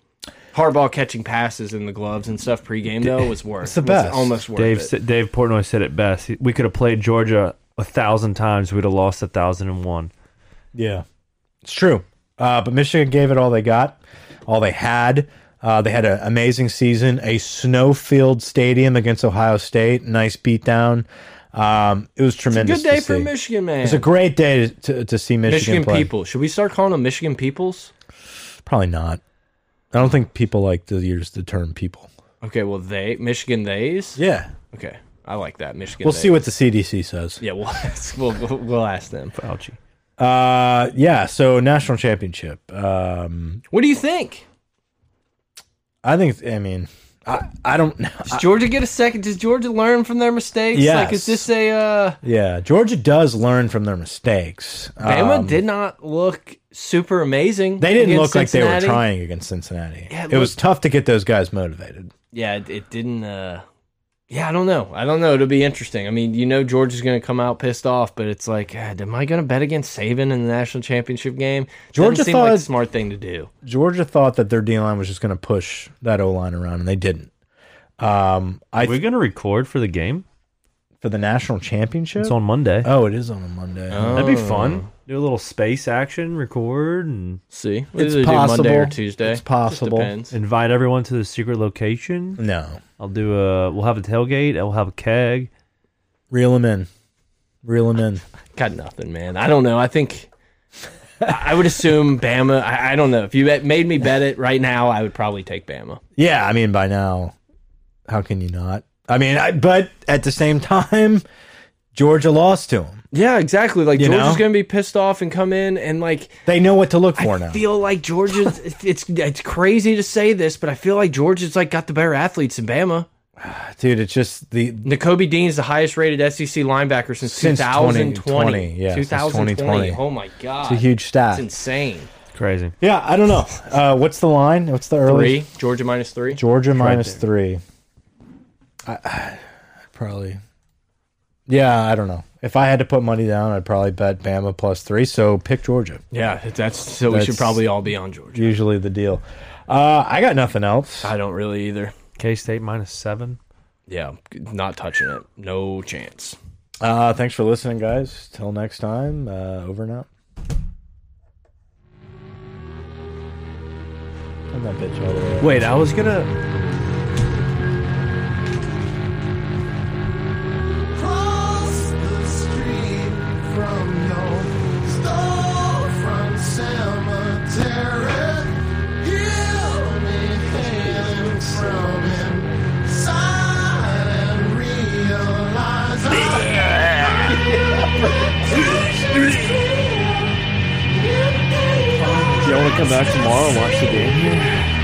Speaker 1: Hardball catching passes in the gloves and stuff pregame though was worth. It's
Speaker 2: the best.
Speaker 1: almost worth
Speaker 3: Dave
Speaker 1: it.
Speaker 3: said- Dave Portnoy said it best. He- We could have played Georgia a thousand times. We'd have lost a thousand and one.
Speaker 2: Yeah, it's true. Uh, but Michigan gave it all they got, all they had. Uh, they had an amazing season, a snow-filled stadium against Ohio State. Nice beatdown. Um, it was tremendous.
Speaker 1: Good day
Speaker 2: to
Speaker 1: for
Speaker 2: see.
Speaker 1: Michigan, man.
Speaker 2: It's a great day to, to see Michigan,
Speaker 1: Michigan
Speaker 2: play.
Speaker 1: people. Should we start calling them Michigan peoples?
Speaker 2: Probably not. I don't think people like to use the term people.
Speaker 1: Okay, well they Michigan theys.
Speaker 2: Yeah,
Speaker 1: Okay, I like that Michigan.
Speaker 2: we'll
Speaker 1: they.
Speaker 2: see what the CDC says.
Speaker 1: Yeah, we'll ask, we'll, we'll we'll ask them.
Speaker 3: Fauci.
Speaker 2: Uh, yeah. So national championship. Um,
Speaker 1: What do you think?
Speaker 2: I think. I mean, I I don't.
Speaker 1: Does Georgia get a second? Does Georgia learn from their mistakes?
Speaker 2: Yes.
Speaker 1: Like, is this a uh,
Speaker 2: Yeah, Georgia does learn from their mistakes.
Speaker 1: Bama
Speaker 2: Um,
Speaker 1: did not look super amazing.
Speaker 2: They didn't
Speaker 1: against
Speaker 2: look like they were
Speaker 1: Cincinnati.
Speaker 2: trying against Cincinnati.
Speaker 1: Yeah,
Speaker 2: it was tough to get those guys motivated.
Speaker 1: Yeah, it, it didn't. Uh, yeah, I don't know. I don't know. It'll be interesting. I mean, you know, Georgia's going to come out pissed off, but it's like, God, am I going to bet against Saban in the national championship game?
Speaker 2: Georgia
Speaker 1: Doesn't seem like
Speaker 2: thought-
Speaker 1: a smart thing to do.
Speaker 2: Georgia thought that their D line was just going to push that O line around, and they didn't. Um, I
Speaker 3: We're gonna record for the game.
Speaker 2: for the national championship.
Speaker 3: It's on Monday.
Speaker 2: oh, it is on a Monday.
Speaker 1: Oh.
Speaker 3: That'd be fun. Do a little space action, record, and
Speaker 1: See, we
Speaker 2: It's
Speaker 1: either do
Speaker 2: possible.
Speaker 1: Monday or Tuesday.
Speaker 2: It's
Speaker 1: Just
Speaker 2: possible.
Speaker 1: depends.
Speaker 3: invite everyone to the secret location.
Speaker 2: No,
Speaker 3: I'll do a. We'll have a tailgate. I'll have a keg.
Speaker 2: reel them in, reel them in.
Speaker 1: Got nothing, man. I don't know. I think I I would assume Bama. I, I don't know. If you bet- made me bet it right now, I would probably take Bama.
Speaker 2: Yeah, I mean by now, how can you not? I mean, I, but at the same time, Georgia lost to them.
Speaker 1: Yeah, exactly. Like
Speaker 2: You
Speaker 1: Georgia's
Speaker 2: know?
Speaker 1: going to be pissed off and come in and like
Speaker 2: They know what to look for
Speaker 1: I
Speaker 2: now.
Speaker 1: feel like Georgia's. it's it's crazy to say this, but I feel like Georgia's like got the better athletes than Bama.
Speaker 2: Dude, it's just the
Speaker 1: Nicobe Dean's the highest rated SEC linebacker since,
Speaker 2: Since
Speaker 1: 2020.
Speaker 2: 2020, yeah, since
Speaker 1: 2020.
Speaker 2: 2020.
Speaker 1: Oh my god,
Speaker 2: it's a huge
Speaker 1: It's
Speaker 2: stat.
Speaker 1: insane.
Speaker 3: Crazy.
Speaker 2: Yeah, I don't know. Uh, what's the line? What's the early
Speaker 1: Three Georgia minus three.
Speaker 2: Georgia minus three? I, I probably. Yeah, I don't know. If I had to put money down, I'd probably bet Bama plus three. So pick Georgia.
Speaker 1: Yeah, that's so we
Speaker 2: That's-
Speaker 1: should probably all be on Georgia.
Speaker 2: Usually the deal. Uh, I got nothing else.
Speaker 1: I don't really either.
Speaker 3: K State minus seven.
Speaker 1: Yeah, not touching it. No chance.
Speaker 2: Uh, thanks for listening, guys. Till next time. Uh, over and out. Turn that bitch all the way up.
Speaker 3: Wait, I was gonna.
Speaker 6: Cross the street from your storefront cemetery.
Speaker 7: come back tomorrow and watch the game.